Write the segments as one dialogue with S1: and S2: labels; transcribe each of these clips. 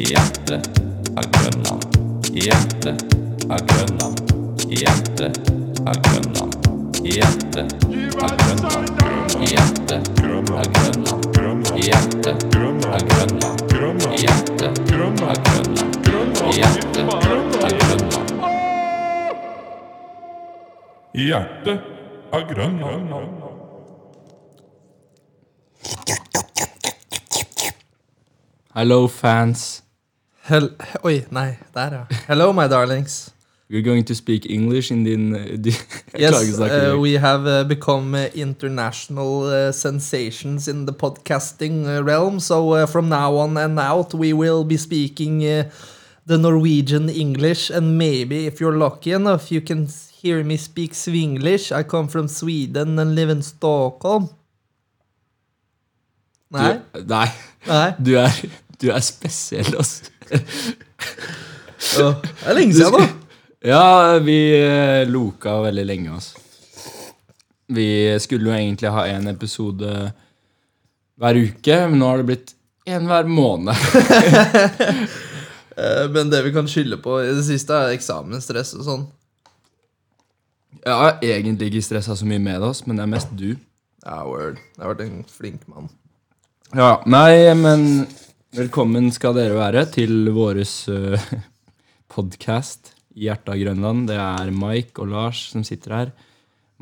S1: Hjertet av Grønland. Hjertet av Grønland. Hjertet av Grønland. Hjertet av Grønland. Hjertet av Grønland. Hjertet av Grønland. Hjertet av Grønland. Hjertet av Grønland.
S2: Hjertet av Grønland.
S3: Hello, fans.
S4: Hel Oi, nei, der ja. Hello, my darlings.
S3: We're going to speak English in din uh, di-
S4: Yes,
S3: klagesaker.
S4: uh, we have uh, become uh, international uh, sensations in the podcasting uh, realm. So uh, from now on and out, we will be speaking uh, the Norwegian English, and maybe if you're lucky enough, you can s- hear me speak Swinglish. I come from Sweden and live in Stockholm. Nei,
S3: Du, nei.
S4: nei.
S3: Du er, du er spesiell, altså.
S4: Åh, det er lenge siden, da.
S3: Ja, vi eh, loka veldig lenge, altså. Vi skulle jo egentlig ha en episode hver uke, men nå har det blitt en hver måned.
S4: Eh, Men det vi kan skylde på i det siste, er eksamensstress og sånn.
S3: Jeg har egentlig ikke stressa så mye med oss, men det er mest du.
S4: Ja, word. Jeg har vært en flink mann.
S3: Ja, nei, men velkommen skal dere være til våres uh, podkast i hjertet av Grønland. Det er Mike og Lars som sitter her.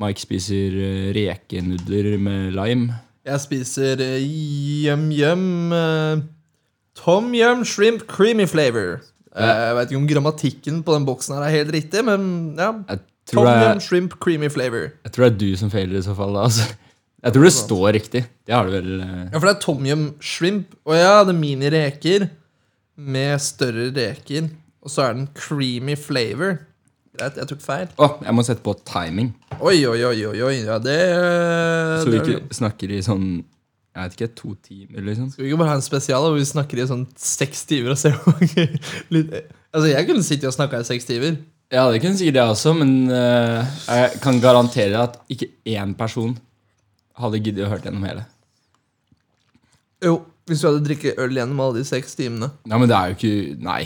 S3: Mike spiser eh, rekenudler med lime.
S4: Jeg spiser eh, yum-yum eh, Tom Yum Shrimp Creamy Flavor. Eh, Jeg vet ikke om grammatikken på den boksen her er helt riktig, men ja.
S3: Jeg tror
S4: Tom Yum
S3: jeg,
S4: Shrimp Creamy Flavor.
S3: jeg tror det er du som feiler i så fall. da, altså. Jeg tror det står riktig. Det har det vel eh,
S4: Ja, for det er Tom Yum Shrimp. Og ja, det er mini-reker med større reker. Og så er den creamy flavor. Greit, jeg tok feil.
S3: Å, jeg må sette på timing,
S4: Oi, oi, oi, oi, oi. Ja, det, eh,
S3: så vi
S4: det er-
S3: ikke snakker i sånn jeg vet ikke, to timer, liksom.
S4: Skal vi ikke bare ha en spesial hvor vi snakker i sånn seks timer og ser hvor mange lyd- Altså, jeg kunne sittet og snakka i seks timer.
S3: Ja, det kunne sikkert jeg også, men eh, jeg kan garantere deg at ikke én person hadde giddet å hørt gjennom hele.
S4: Jo, hvis du hadde drikket øl gjennom alle de seks timene.
S3: Nei, men det er jo ikke Nei,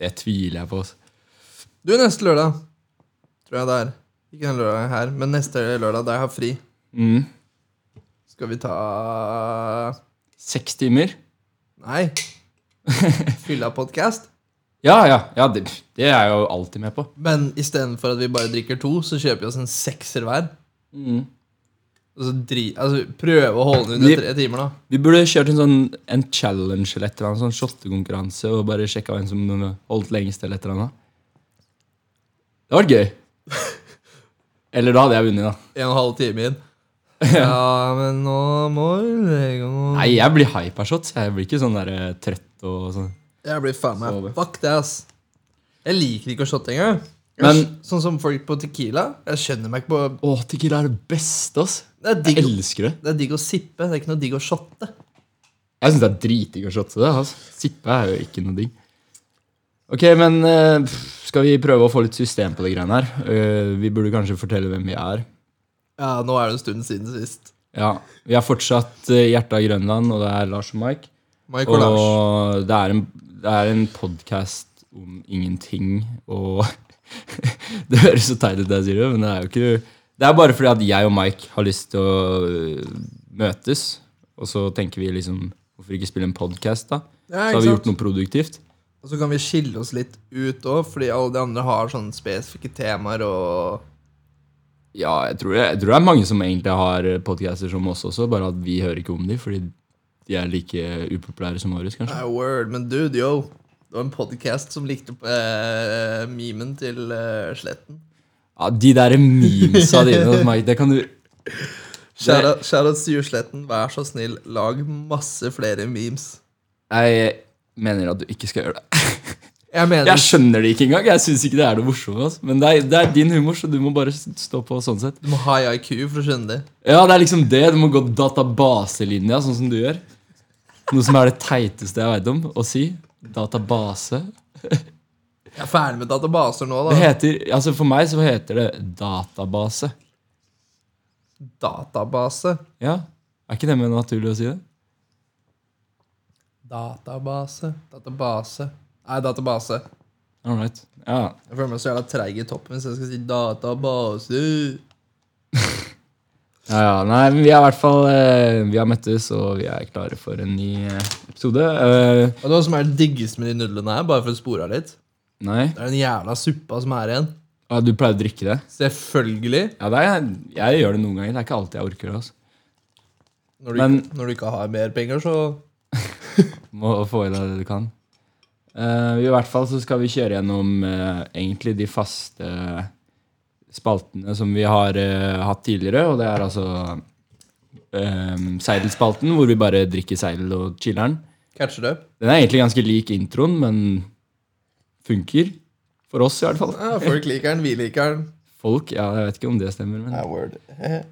S3: det tviler jeg på. altså.
S4: Du, neste lørdag tror jeg det er. Ikke den lørdagen her, men neste lørdag da jeg har fri.
S3: Mm.
S4: Skal vi ta
S3: Seks timer?
S4: Nei. Fylla podkast.
S3: Ja, ja. ja det, det er jeg jo alltid med på.
S4: Men istedenfor at vi bare drikker to, så kjøper vi oss en sekser hver.
S3: Mm.
S4: Og så dri... Altså, prøve å holde den
S3: Vi-
S4: under tre timer, da.
S3: Vi burde kjørt en sånn en challenge eller et eller annet, sånn shottekonkurranse og bare sjekka hvem som holdt lengst eller et eller annet. Det hadde vært gøy. Eller da hadde jeg vunnet, da.
S4: En og en halv time inn. Ja, men nå må vi legge oss.
S3: Nei, jeg blir hype av shots. Jeg blir ikke sånn der eh, trøtt og sånn.
S4: Jeg blir faen meg
S3: Sove.
S4: Fuck det, ass. Jeg liker ikke å shotte engang. Jeg-
S3: Men-
S4: sånn som folk på Tequila. Jeg skjønner meg ikke på
S3: Å, Tequila er det beste, ass.
S4: Det er digg,
S3: Jeg
S4: det
S3: elsker det.
S4: er digg å sippe, det er ikke noe digg å shotte.
S3: Jeg syns det er dritdigg å shotte det. ass. Sippe er jo ikke noe digg. Ok, men eh, pff, skal vi prøve å få litt system på de greiene her? Eh, vi burde kanskje fortelle hvem vi er.
S4: Ja, nå er det en stund siden sist.
S3: Ja, Vi er fortsatt eh, Hjertet av Grønland, og det er Lars og Mike.
S4: Mike og Lars.
S3: Og det er en, det er en podkast om ingenting, og Det høres så teit ut, det jeg sier, det, men det er jo ikke Det er bare fordi at jeg og Mike har lyst til å øh, møtes, og så tenker vi liksom Hvorfor ikke spille en podkast, da? så
S4: Ja,
S3: har
S4: ikke
S3: vi
S4: sant?
S3: gjort noe produktivt.
S4: Og så kan vi skille oss litt ut òg, fordi alle de andre har sånne spesifikke temaer og
S3: Ja, jeg tror, jeg, tror det er mange som egentlig har øh, podcaster som oss også, bare at vi hører ikke om dem, fordi de er like upopulære som våre, kanskje.
S4: Nei, word, men dude, yo. Det var en podcast som likte eh, memen til eh, Sletten.
S3: Ja, De der memesa dine, Mike, det kan du
S4: Shout-out shout-outs til Jusletten. Vær så snill, lag masse flere memes.
S3: Jeg mener at du ikke skal gjøre det.
S4: Jeg mener
S3: Jeg skjønner det ikke engang. Jeg synes ikke det er noe morsomt. ass. Men det er, det er din humor, så du må bare s- stå på sånn sett.
S4: Du må ha high IQ for å skjønne det.
S3: Ja, det er liksom det. Du må gå databaselinja, sånn som du gjør. Noe som er det teiteste jeg veit om å si. Database.
S4: Jeg er ferdig med databaser nå,
S3: Det
S4: da.
S3: heter, altså For meg så heter det database.
S4: Database.
S3: Ja, Er ikke det mer naturlig å si det?
S4: Database, database Nei, database.
S3: All right. Ja.
S4: Jeg føler meg så jævla treig i toppen hvis jeg skal si database.
S3: Ja, ja. Nei, men vi er i hvert fall eh, Vi har møttes, og vi er klare for en ny eh, episode. Eh,
S4: Og det som er det diggeste med de nudlene her, bare for å spore av litt,
S3: nei?
S4: det er den jævla suppa som er igjen.
S3: Ah, du pleier å drikke det?
S4: Selvfølgelig.
S3: Ja, det er, jeg gjør det noen ganger. Det er ikke alltid jeg orker det. altså.
S4: Når du,
S3: Men-
S4: ikke, når du ikke har mer penger, så
S3: Må få i deg det du kan. Eh, I hvert fall så skal vi kjøre gjennom eh, egentlig de faste spaltene som vi har eh, hatt tidligere, og det er altså eh, Seidelspalten, hvor vi bare drikker seidel og chiller'n.
S4: catcher du.
S3: Den er egentlig ganske lik introen, men funker. For oss, i hvert fall.
S4: Ja, folk liker den, vi liker den.
S3: Folk, ja, jeg vet ikke om det stemmer, men
S4: Ja, word.
S3: Øh,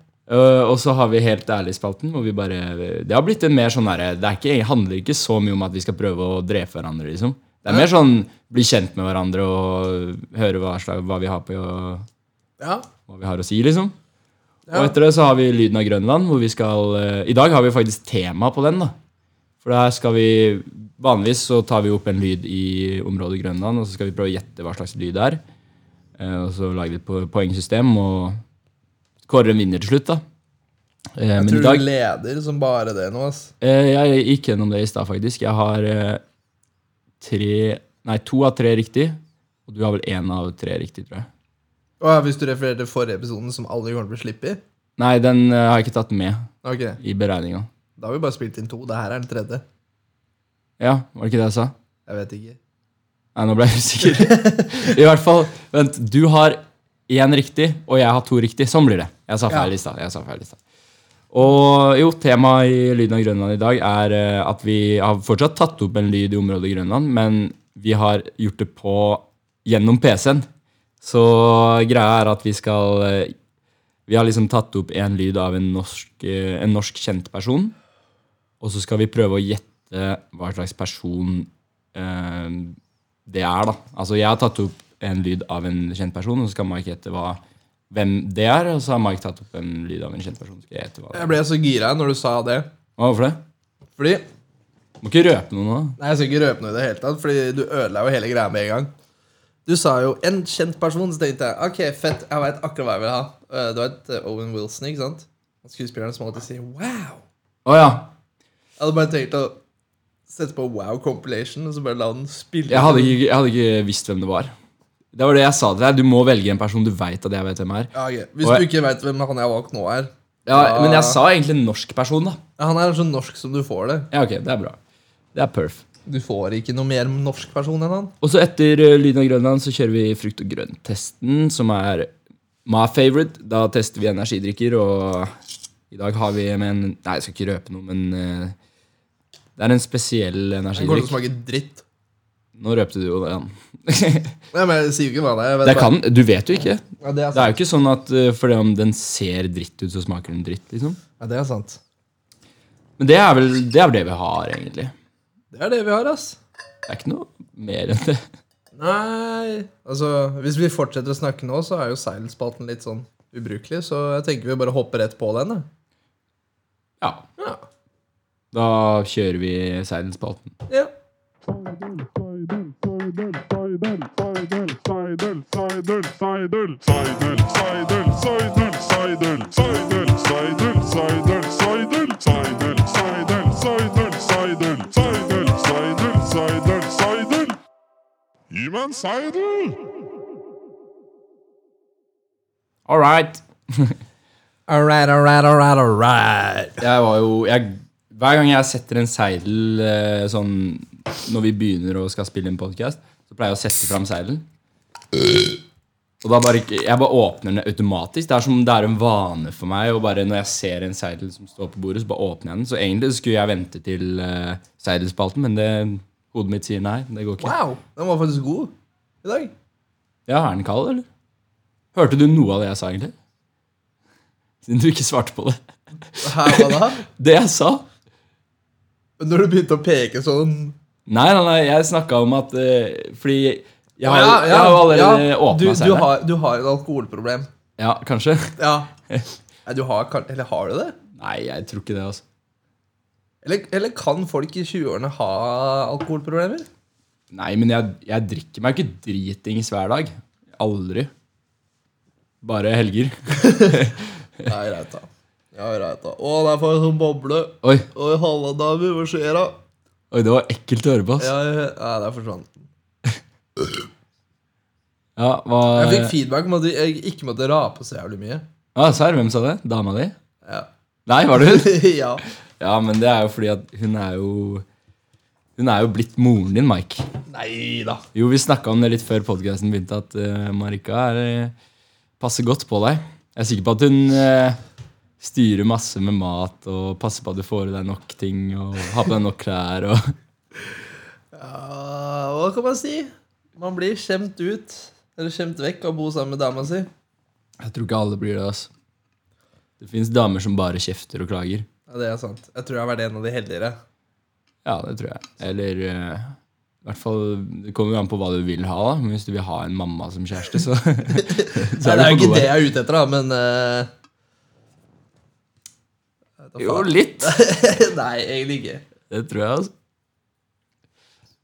S3: Og så har vi Helt ærlig-spalten, hvor vi bare Det har blitt en mer sånn derre Det er ikke, handler ikke så mye om at vi skal prøve å drepe hverandre, liksom. Det er mer sånn bli kjent med hverandre og høre hva, slag, hva, vi, har på, hva
S4: Ja.
S3: vi har å si, liksom.
S4: Ja.
S3: Og etter det så har vi Lyden av Grønland, hvor vi skal øh, I dag har vi faktisk tema på den, da. For der skal vi Vanligvis så tar vi opp en lyd i området Grønland, og så skal vi prøve å gjette hva slags lyd det er. Eh, og så lage et po- poengsystem og kåre en vinner til slutt, da. Eh, men i
S4: Tror
S3: dag
S4: du leder som bare det nå, ass.
S3: eh, Jeg gikk gjennom det i stad, faktisk. Jeg har eh, tre Nei, to av tre riktig. Og du har vel én av tre riktig, tror jeg.
S4: Å, ja, hvis du refererer til forrige episoden som aldri kommer til å bli slippet i?
S3: Nei, den eh, har jeg ikke tatt med
S4: Ok,
S3: i beregninga.
S4: da har vi bare spilt inn to. Det her er den tredje.
S3: Ja, var det ikke det jeg sa?
S4: Jeg vet ikke.
S3: Nei, nå ble jeg usikker. I hvert fall, vent, du har én riktig, og jeg har to riktig. Sånn blir det. Jeg sa feil i stad. jeg sa feil i stad. Og jo, temaet i Lyden av Grønland i dag er eh, at vi har fortsatt tatt opp en lyd i området Grønland, men vi har gjort det på gjennom PC-en. Så greia er at vi skal eh, Vi har liksom tatt opp en lyd av en norsk, eh, en norsk kjent person, og så skal vi prøve å gjette hva slags person eh, det er, da. Altså, jeg har tatt opp en lyd av en kjent person, og så skal Mike gjette hva, hvem det er. Og så har Mike tatt opp en lyd av en kjent person. så Skal jeg gjette hva det er.
S4: Jeg ble så gira når du sa det.
S3: Hva, Hvorfor det?
S4: Fordi
S3: Må ikke røpe noe nå.
S4: Nei, jeg skal ikke røpe noe i det hele tatt, fordi du ødela jo hele greia med en gang. Du sa jo 'en kjent person', så tenkte jeg ok, fett, jeg veit akkurat hva jeg vil ha. Eh, Du vet eh, Owen Wilson, ikke sant? Han Skuespilleren som alltid sier 'wow'.
S3: Å ja.
S4: Jeg hadde bare tenkt å sette på wow compilation, og så bare la den spille.
S3: Jeg hadde, ikke, jeg hadde ikke visst hvem det var. Det var det jeg sa til deg. Du må velge en person du veit at jeg vet hvem er.
S4: Ja, ok. Hvis
S3: Og
S4: du
S3: jeg-
S4: ikke veit hvem han jeg har valgt nå er
S3: Ja,
S4: Ja.
S3: Men jeg sa egentlig en norsk person, da.
S4: Ja, Han er så norsk som du får det.
S3: Ja, ok, det er bra. Det er perf.
S4: Du får ikke noe mer norsk person enn han.
S3: Og så etter eh, Lyden av Grønland så kjører vi frukt- og grønt-testen, som er my favorite. Da tester vi energidrikker, og i dag har vi med en Nei, jeg skal ikke røpe noe, men eh, det er en spesiell
S4: Den kommer til å
S3: energidrikk.
S4: smake dritt.
S3: Nå røpte du jo det. Jan.
S4: Nei, men jeg sier jo ikke hva det er. Jeg vet
S3: det kan, du vet jo ikke.
S4: bare- Ja, det er
S3: Det er
S4: sant.
S3: jo ikke sånn at eh, fordi om den ser dritt ut, så smaker den dritt, liksom.
S4: Ja, det er sant.
S3: Men det er vel det, er vel det vi har, egentlig.
S4: Det er det vi har, ass.
S3: Det er ikke noe mer enn det.
S4: Nei Altså, hvis vi fortsetter å snakke nå, så er jo seilspalten litt sånn ubrukelig, så jeg tenker vi bare hopper rett på den, da.
S3: Ja.
S4: Ja.
S3: Da kjører vi Seidelspalten.
S4: Ja.
S2: Gi meg en seidel!
S3: All right.
S4: All right, all right, all right, all right.
S3: jeg var jo jeg, Hver gang jeg setter en seidel eh, sånn når vi begynner og skal spille en podkast, så pleier jeg å sette fram seidelen. Og da bare, ikke- Jeg bare åpner den automatisk. Det er som det er en vane for meg. Og bare Når jeg ser en seidel som står på bordet, så bare åpner jeg den. Så egentlig så skulle jeg vente til eh, seidelspalten, men det, hodet mitt sier nei. Det går ikke.
S4: Wow, den var faktisk god i dag.
S3: Ja, Er den kald, eller? Hørte du noe av det jeg sa, egentlig? Siden du ikke svarte på det.
S4: Her var det her.
S3: Det jeg sa?
S4: Når du begynte å peke sånn
S3: Nei, nei, nei, jeg snakka om at eh, Fordi jeg har,
S4: Ja, ja,
S3: jeg har jo allerede
S4: ja.
S3: åpnet
S4: du,
S3: åpna
S4: du har, du har et alkoholproblem.
S3: Ja, kanskje?
S4: Ja. Nei, du har kan- Eller har du det?
S3: Nei, jeg tror ikke det, altså.
S4: Eller, eller kan folk i 20-årene ha alkoholproblemer?
S3: Nei, men jeg, jeg drikker meg ikke dritings hver dag. Aldri. Bare helger.
S4: Ja, greit, da. Ja, greit, da. Å, der får jeg sånn boble.
S3: Oi,
S4: Oi, halla, damer. Hva skjer, da?
S3: oi, det var ekkelt å høre på. ass.
S4: Ja, jeg, ja, der forsvant den.
S3: Ja, hva
S4: Jeg fikk feedback om at jeg ikke måtte rape så jævlig mye.
S3: Ja, Serr, hvem sa det? Dama di?
S4: Ja.
S3: Nei, var det hun?
S4: ja.
S3: Ja, men det er jo fordi at hun er jo Hun er jo blitt moren din, Mike.
S4: Nei da.
S3: Jo, vi snakka om det litt før podkasten begynte, at eh, Marika er, eh, passer godt på deg. Jeg er sikker på at hun eh, styrer masse med mat og passer på at du får i deg nok ting og har på deg nok klær og
S4: Ja, Ah, hva kan man si? Man blir skjemt ut, eller skjemt vekk, av å bo sammen med dama si.
S3: Jeg tror ikke alle blir det, altså. Det fins damer som bare kjefter og klager.
S4: Ja, det er sant. Jeg tror jeg har vært en av de heldigere.
S3: Ja, det tror jeg. Eller eh, i hvert fall, Det kommer jo an på hva du vil ha. da. Men Hvis du vil ha en mamma som kjæreste, så, så
S4: Nei, det er jo
S3: på god
S4: ikke
S3: vei.
S4: det jeg er ute etter, da, men eh, jeg vet da
S3: Jo,
S4: faen.
S3: litt.
S4: Nei, egentlig ikke.
S3: Det tror jeg, altså.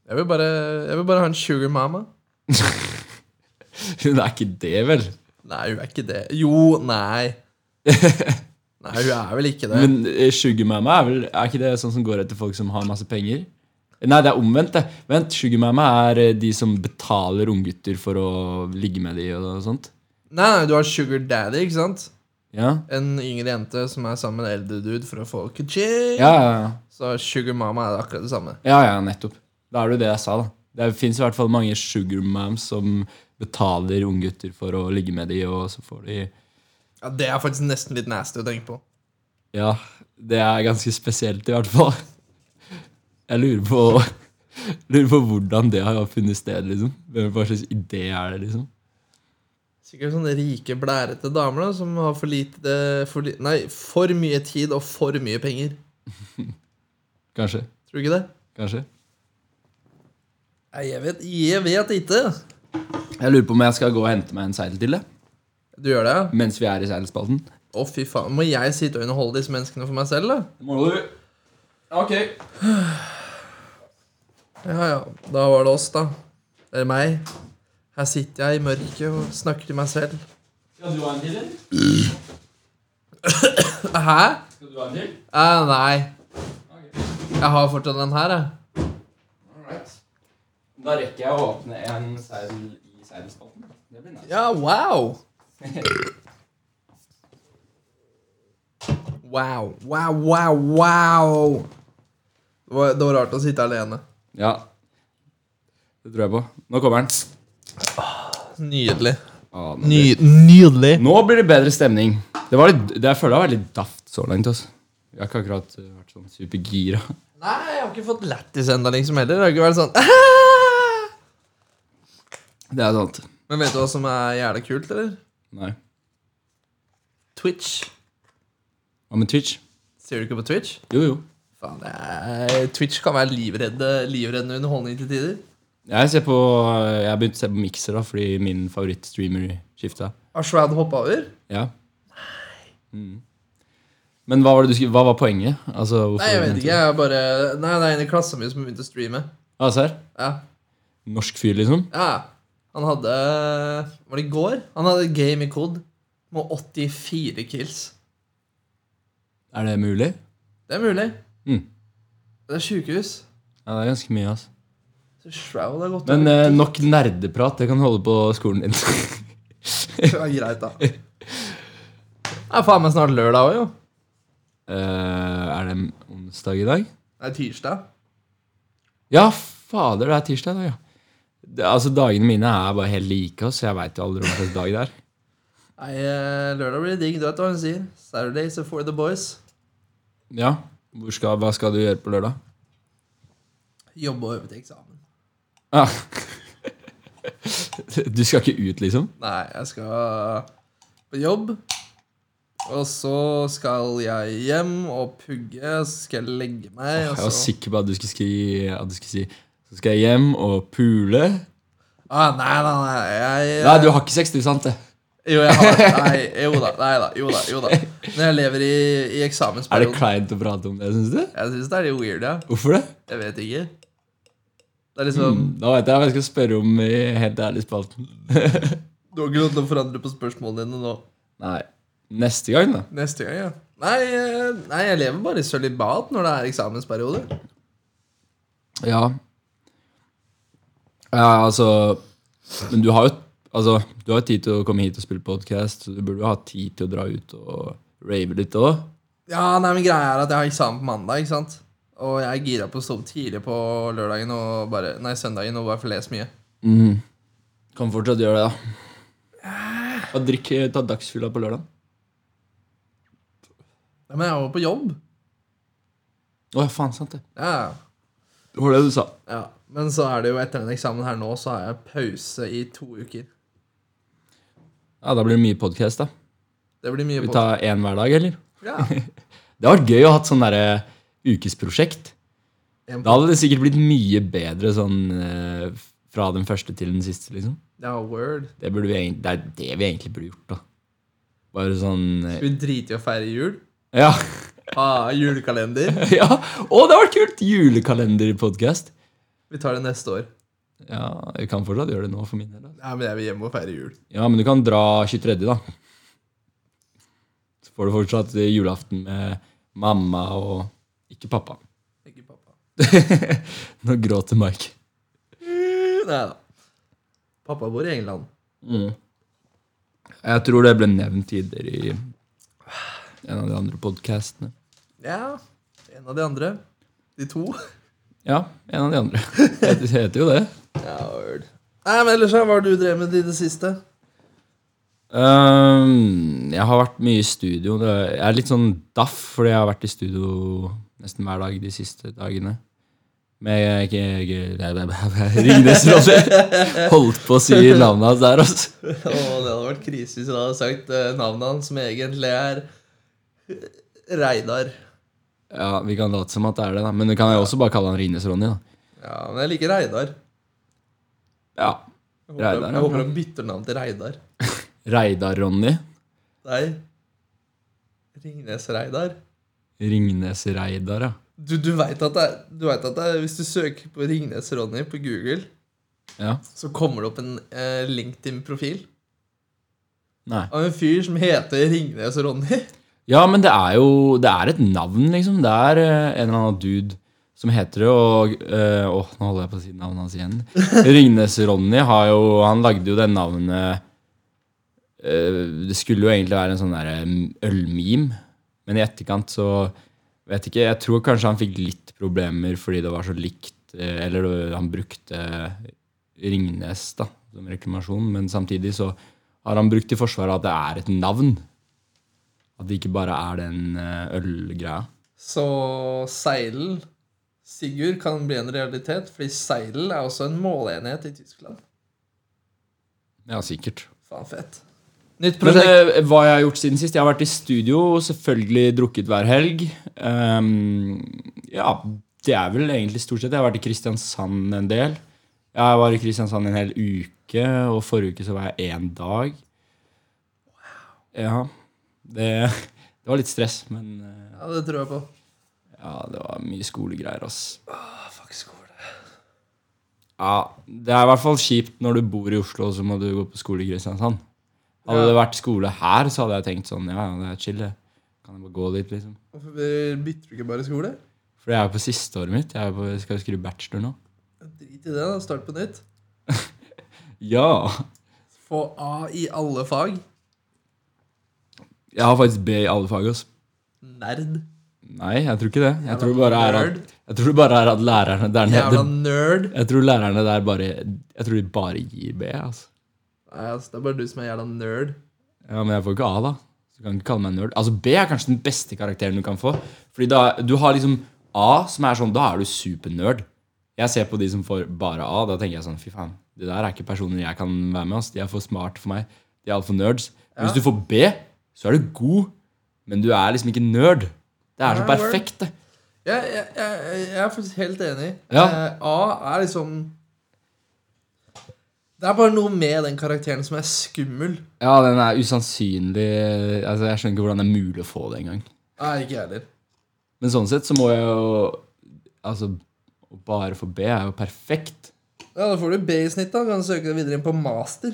S4: Jeg vil bare, jeg vil bare ha en sugar mama.
S3: Hun er ikke det, vel?
S4: Nei, hun er ikke det. Jo, nei. Nei, hun er vel ikke det.
S3: Men eh, Sugar Mama er vel Er ikke det sånn som går etter folk som har masse penger? Nei, det er omvendt. det Vent, Sugar Mama er eh, de som betaler unggutter for å ligge med de og sånt.
S4: Nei, nei, du har sugar daddy, ikke sant?
S3: Ja,
S4: En yngre jente som er sammen med en eldre dude for å få kuching.
S3: ja, ja,
S4: Så sugar mama er akkurat det samme.
S3: ja, ja nettopp. Da er det jo det jeg sa, da. Det fins i hvert fall mange sugar mams som betaler unggutter for å ligge med de, og så får de
S4: Ja, Det er faktisk nesten litt nasty å tenke på.
S3: Ja, det er ganske spesielt i hvert fall. Jeg lurer på, lurer på hvordan det har funnet sted, liksom. Hvem- Hva slags idé er det, liksom?
S4: Sikkert sånne rike, blærete damer da, som har for lite eh, for, li- Nei, for mye tid og for mye penger.
S3: Kanskje.
S4: Tror du ikke det?
S3: Kanskje.
S4: Nei, jeg vet, jeg vet ikke.
S3: Jeg lurer på om jeg skal gå og hente meg en seil til, jeg,
S4: Du gjør det, ja?
S3: mens vi er i seilspalten.
S4: Å, fy faen. Må jeg sitte og underholde disse menneskene for meg selv, da?
S3: Det må du. Ok.
S4: Ja, ja. Da var det oss, da. Eller meg. Her sitter jeg i mørket og snakker til meg selv.
S3: Skal du ha en til, eller?
S4: Hæ?
S3: Skal du ha en til?
S4: Eh, nei. Jeg har fortsatt den her, jeg.
S3: Da rekker jeg å åpne en seil i seilspalten. Det blir nice.
S4: Ja, wow! Wow, wow, wow, wow! Det var, det var rart å sitte alene.
S3: Ja. Det tror jeg på. Nå kommer den.
S4: Nydelig.
S3: Å, nå blir-
S4: Ny, nydelig.
S3: Nå blir det bedre stemning. Det, var litt, det jeg føler jeg har vært litt daft så langt. Altså. Jeg har ikke akkurat eh, vært sånn supergira.
S4: Nei, jeg har ikke fått lættis ennå, liksom, heller. Det har ikke vært sånn «Ah!»
S3: Det er sant.
S4: Men vet du hva som er jævla kult, eller?
S3: Nei.
S4: Twitch.
S3: Hva med Twitch?
S4: Ser du ikke på Twitch?
S3: Jo, jo.
S4: Faen, det er, Twitch kan være livredde, livreddende underholdning til tider.
S3: Jeg ser på eh, Jeg har begynt å se på Mixer da, fordi min favorittstreamer skifta.
S4: Har Shroud hoppa over?
S3: Ja. Mm. Men hva var, det du skulle, hva var poenget? Altså, hvorfor-
S4: Nei, jeg vet ikke. Jeg er bare Nei, det er en i klassen min som har begynt å streame.
S3: Ah, ser.
S4: Ja.
S3: Norsk fyr, liksom?
S4: Ja. Han hadde Var det i går? Han hadde et game i COD med 84 kills.
S3: Er det mulig?
S4: Det er mulig.
S3: Mm.
S4: Det er sjukehus.
S3: Ja, det er ganske mye, altså.
S4: Så Shroud har gått
S3: Men eh, nok nerdeprat. Det kan holde på skolen din.
S4: over. Ja, greit, da. Det er faen meg snart lørdag òg, jo.
S3: Eh, er det onsdag i dag?
S4: Det er tirsdag.
S3: Ja, fader, det er tirsdag i dag, ja. Det, altså, dagene mine er bare helt like oss, så jeg veit jo aldri hva slags dag det er.
S4: Nei, eh, lørdag blir digg. Du vet hva hun sier. Saturdays are for the boys.
S3: Ja, Hvor skal, Hva skal du gjøre på lørdag?
S4: Jobbe og øve til eksamen.
S3: Ah. Du skal ikke ut, liksom?
S4: Nei, jeg skal på jobb. Og så skal jeg hjem og pugge, så skal jeg legge meg.
S3: Jeg
S4: Og
S3: var
S4: så...
S3: sikker på at du skulle si, at du skulle si Så skal jeg hjem og pule.
S4: Ah, nei, nei, nei. Jeg,
S3: Nei, du har ikke sex, du, sant det?
S4: Jo, jeg har Nei, jo da. Nei da. Jo da. Jo da. Når jeg lever i, i
S3: Er det
S4: eksamensperioden
S3: kleint å prate om det, syns du?
S4: Jeg syns det er litt weird, ja.
S3: Hvorfor det?
S4: Jeg vet ikke. Det er liksom
S3: Da vet jeg hva jeg skal spørre om i Helt ærlig spalten.
S4: Du har ikke lov til å forandre på spørsmålene dine nå.
S3: Nei. Neste gang, da.
S4: Neste gang, ja. Nei, eh, nei jeg lever bare i sølibat når det er eksamensperiode.
S3: Ja. Ja, altså Men du har jo altså, du har jo tid til å komme hit og spille podkast, så du burde jo ha tid til å dra ut og rave litt òg.
S4: Ja, nei, men greia er at jeg har eksamen på mandag, ikke sant? Og jeg er gira på å stå opp tidlig på lørdagen og bare, nei, søndagen og bare få lese mye.
S3: Kan fortsatt gjøre det, da. Og drikk, ta dagsfylla på lørdag.
S4: Ja, men jeg var på jobb.
S3: Å ja, faen, sant det.
S4: Ja,
S3: Det var det du sa.
S4: ja. Men så er det jo etter den eksamen her nå, så har jeg pause i to uker.
S3: Ja, Da blir det mye podkast, da.
S4: Det blir mye
S3: Vi
S4: på.
S3: tar én hver dag, eller?
S4: Ja,
S3: Det hadde vært gøy å ha hatt sånn derre ukesprosjekt.
S4: en
S3: Da hadde det sikkert blitt mye bedre sånn eh, fra den første til den siste, liksom.
S4: ja, word.
S3: Det, burde vi, egent- det er det vi egentlig burde gjort, da. Bare sånn eh,
S4: Skal vi drite i å feire jul?
S3: Ja!
S4: Ha julekalender.
S3: ja. Å, det hadde vært kult! Julekalenderpodkast.
S4: Vi tar det neste år.
S3: Ja, vi kan fortsatt gjøre det nå, for min del. da.
S4: Nei, men jeg vil hjem og feire jul.
S3: Ja, men du kan dra 23., da. Så får du fortsatt eh, julaften med mamma og ikke pappa.
S4: Ikke pappa.
S3: Nå gråter Mike.
S4: Nei da. Pappa bor i England.
S3: Jeg tror det ble nevnt tidligere i en av de andre podkastene.
S4: Ja, en av de andre. De to.
S3: Ja, en av de andre. Det heter jo det.
S4: Ja, word. Nei, men ellers, da, hva har du drevet med i det siste?
S3: Ehm, jeg har vært mye i studio. Det- Jeg er litt sånn daff, fordi jeg har vært i studio nesten hver dag de siste dagene. Med ikke- ikke- nei, nei, nei, nei, Ringnes Rådde. Holdt på å si navnet hans der, altså.
S4: Å, det hadde vært krise hvis du hadde sagt eh, navnet hans, som egentlig er eh, Reidar.
S3: Ja, Vi kan late som at det er det, da. men du kan jo også bare kalle han Ringnes Ronny. da
S4: Ja, men jeg liker Reidar.
S3: Ja,
S4: Jeg håper-
S3: Reidar, ja.
S4: Jeg håper han bytter navn til Reidar.
S3: Reidar-Ronny.
S4: Nei. Ringnes-Reidar.
S3: Ringnes-Reidar, ja.
S4: Du, du veit at, det er- du vet at det er, hvis du søker på Ringnes-Ronny på Google,
S3: ja.
S4: så kommer det opp en eh, LinkedIn-profil
S3: Nei.
S4: av en fyr som heter Ringnes-Ronny.
S3: Ja, men det er jo Det er et navn, liksom. Det er eh, en eller annen dude som heter det, og eh, Åh, nå holder jeg på å si navnet hans igjen. Ringnes-Ronny har jo Han lagde jo det navnet eh, Det skulle jo egentlig være en sånn derre ølmeme, men i etterkant så Vet ikke. Jeg tror kanskje han fikk litt problemer fordi det var så likt eh, Eller det- han brukte Ringnes da, som reklamasjon, men samtidig så har han brukt i forsvaret at det er et navn. At det ikke bare er den eh, ølgreia.
S4: Så seilen Sigurd kan bli en realitet, fordi seil er også en måleenhet i Tyskland.
S3: Ja, sikkert.
S4: Faen fett. Nytt
S3: Men
S4: prosjekt.
S3: eh, hva jeg har gjort siden sist? Jeg har vært i studio, selvfølgelig drukket hver helg. Ehm, ja, det er vel egentlig stort sett. Jeg har vært i Kristiansand en del. Jeg var i Kristiansand en hel uke, og forrige uke så var jeg én dag. Ja. Det, det var litt stress, men eh,
S4: Ja, det tror jeg på.
S3: ja, det var mye skolegreier, ass.
S4: Ah, fuck skole.
S3: Ja, Det er i hvert fall kjipt når du bor i Oslo og så må du gå på skole i Kristiansand. Hadde det vært skole her, så hadde jeg tenkt sånn Ja, ja, det er chill, det. Kan jeg bare gå dit, liksom.
S4: Hvorfor bytter du ikke bare skole?
S3: For jeg er jo på siste året mitt. Jeg er jo på, skal jo skrive bachelor nå.
S4: Drit i det, da. Start på nytt.
S3: Ja!
S4: Få A i alle fag.
S3: Jeg har faktisk B i alle fag, ass.
S4: Nerd.
S3: Nei, jeg tror ikke det. Jeg tror, det
S4: Jævla
S3: bare er
S4: nerd.
S3: at, jeg tror det bare er at lærerne der
S4: Jævla
S3: nede
S4: nerd.
S3: Jeg tror lærerne der bare Jeg tror de bare gir B, altså.
S4: Nei, altså, det er bare du som er jævla nerd.
S3: Ja, men jeg får ikke A, da. Så du kan ikke kalle meg nerd. Altså, B er kanskje den beste karakteren du kan få. Fordi da, du har liksom A, som er sånn, da er du supernerd. Jeg ser på de som får bare A, da tenker jeg sånn, fy faen, det der er ikke personer jeg kan være med, ass. De er for smart for meg. De er altfor nerds. Men Hvis du får B, så er du god, men du er liksom ikke nerd. Det er så
S4: Nei, word.
S3: perfekt, det.
S4: Jeg, jeg, jeg, jeg Eh, er faktisk helt enig.
S3: Ja.
S4: Eh, A er liksom Det er bare noe med den karakteren som er skummel.
S3: Ja, den er usannsynlig Altså, Jeg skjønner ikke hvordan det er mulig å få det engang.
S4: Nei, ikke jeg heller.
S3: Men sånn sett så må jeg jo Altså, å bare få B er jo perfekt.
S4: Ja, Da får du B i snitt, da. Kan søke deg videre inn på master.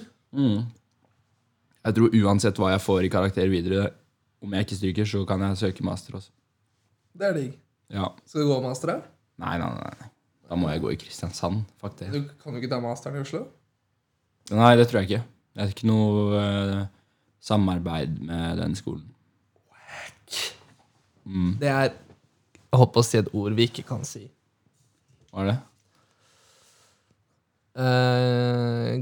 S3: Jeg tror uansett hva jeg får i karakter videre, om jeg ikke stryker, så kan jeg søke master også.
S4: Det er digg.
S3: Ja.
S4: Skal du gå master her?
S3: Nei, nei, nei. nei. Da må jeg gå i Kristiansand. Fuck det.
S4: Du kan jo ikke ta masteren i Oslo.
S3: Nei, det tror jeg ikke. Det er ikke noe eh, samarbeid med den skolen. Mm.
S4: Det er Jeg holdt på å si et ord vi ikke kan si.
S3: Var det?
S4: eh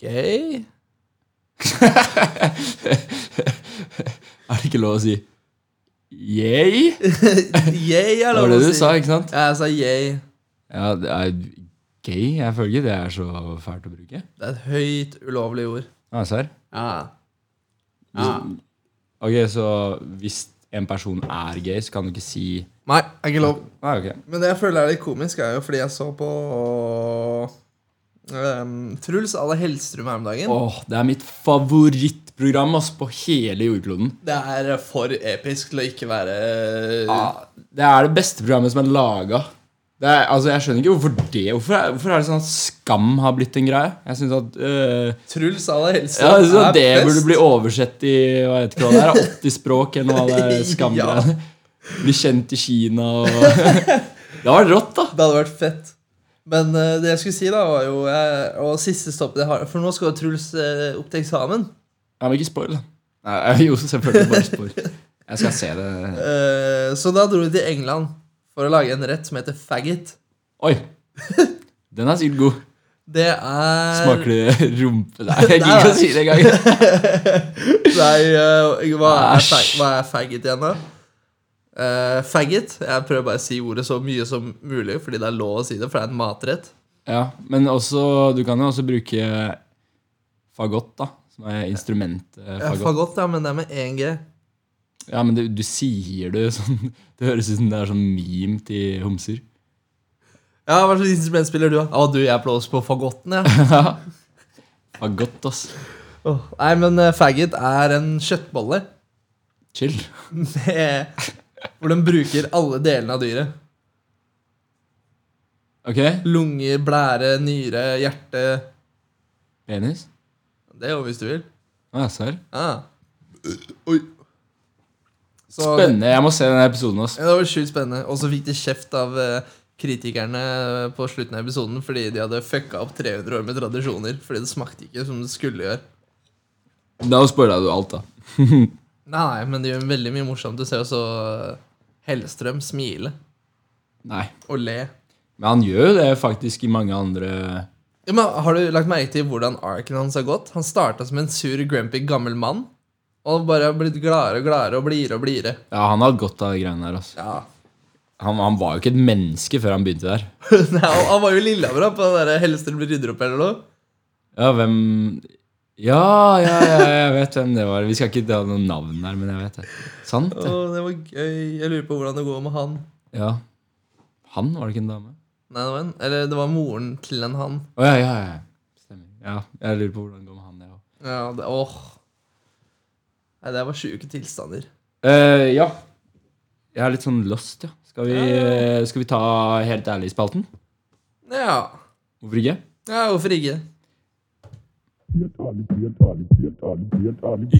S4: gay?
S3: Er det ikke lov å si yay? Det
S4: Yay, er
S3: var
S4: lov
S3: det
S4: å
S3: du
S4: si.
S3: sa, ikke sant?
S4: Ja, jeg sa yay.
S3: Ja, det er gay. Jeg føler ikke det er så fælt å bruke.
S4: Det er et høyt ulovlig ord.
S3: Ja, Mm. serr?
S4: Ja.
S3: Ok, så hvis en person er gay, så kan du ikke si
S4: Nei, er ikke lov.
S3: Nei, ok.
S4: Men det jeg føler er litt komisk, er jo fordi jeg så på ehm, Truls à la Hellstrøm her om dagen.
S3: Åh, det er mitt favorittprogram ass, på hele jordkloden.
S4: Det er for episk til å ikke være
S3: Ja, det er det beste programmet som er laga. Det er, altså, jeg skjønner ikke hvorfor det Hvorfor er, hvorfor er det sånn at skam har blitt en greie? Jeg synes at øh,
S4: Truls à la Hellstrøm
S3: ja, jeg synes at Det
S4: best.
S3: burde bli oversett i hva vet ikke hva det er, 80 språk eller noe av det
S4: Ja.
S3: skamgreiene. Bli kjent i Kina og Det var rått, da.
S4: Det hadde vært fett. Men eh, det jeg skulle si, da, var jo eh, Og siste stoppet jeg har For nå skal jo Truls eh, opp til eksamen.
S3: Ja, men ikke spoil, da. Nei, jo, selvfølgelig bare spoil. Jeg skal se det
S4: Eh, så da dro vi til England for å lage en rett som heter faggot.
S3: Oi! Den er sikkert god.
S4: Det er
S3: Smaker det rumpe Eh, Nei, jeg gidder ikke å si det engang.
S4: Nei, eh, hva, er
S3: Æsj.
S4: fag, hva er faggot igjen, da? Eh, faggot. Jeg prøver bare å si ordet så mye som mulig, fordi det er lov å si det, for det er en matrett.
S3: Ja, men også, du kan jo også bruke fagott, da. Som er instrumentet
S4: Ja,
S3: fagott.
S4: fagott, ja, men det er med 1G.
S3: Ja, men du, du sier det jo sånn Det høres ut som det er sånn meme til homser.
S4: Ja, Hva slags instrument spiller du, da? Å, du, jeg blåser på fagotten, jeg.
S3: Fagott, ass.
S4: Åh, Nei, men eh, faggot er en kjøttbolle
S3: Chill.
S4: med, hvor de bruker alle delene av dyret.
S3: Ok?
S4: Lunge, blære, nyre, hjerte
S3: Penis?
S4: Det er jo hvis du vil.
S3: Å, jeg ser.
S4: Ah. Oi. Så,
S3: Spennende. Jeg må se den episoden, ass.
S4: Ja, det var sjukt spennende. Og så fikk de kjeft av eh, kritikerne eh, på slutten av episoden fordi de hadde fucka opp 300 år med tradisjoner. Fordi det smakte ikke som det skulle gjøre.
S3: Da spoila du alt, da.
S4: Nei, men det gjør veldig mye morsomt. Du ser også eh, Hellstrøm smile
S3: Nei.
S4: og le.
S3: Men han gjør jo det faktisk i mange andre
S4: Ja, men Har du lagt merke til hvordan arken hans har gått? Han starta som en sur, grumpy gammel mann. Og bare har blitt gladere og gladere og blidere og blidere.
S3: Ja, han hadde godt av de greiene der, ass.
S4: Ja.
S3: Han, han var jo ikke et menneske før han begynte der.
S4: Nei, og han var jo i Lillehammer da, på den der Hellstrøm rydder opp eller noe.
S3: Ja, hvem ja, ja, ja, jeg vet hvem det var. Vi skal ikke ta noen navn her, men jeg vet det. Sant?
S4: Å,
S3: det.
S4: det var gøy. Jeg lurer på hvordan det går med han.
S3: Ja. Han, var det ikke en dame?
S4: Nei, det var en, eller det var moren til en han.
S3: Å ja, ja, ja. Stemmer. Ja, jeg lurer på hvordan det går med han, jeg òg.
S4: Ja, det, åh. Nei, det var sjuke tilstander.
S3: Eh, ja. Jeg er litt sånn lost, ja. Skal vi, eh, skal vi ta Helt ærlig-spalten?
S4: Ja.
S3: Hvorfor ikke?
S4: ja, hvorfor ikke?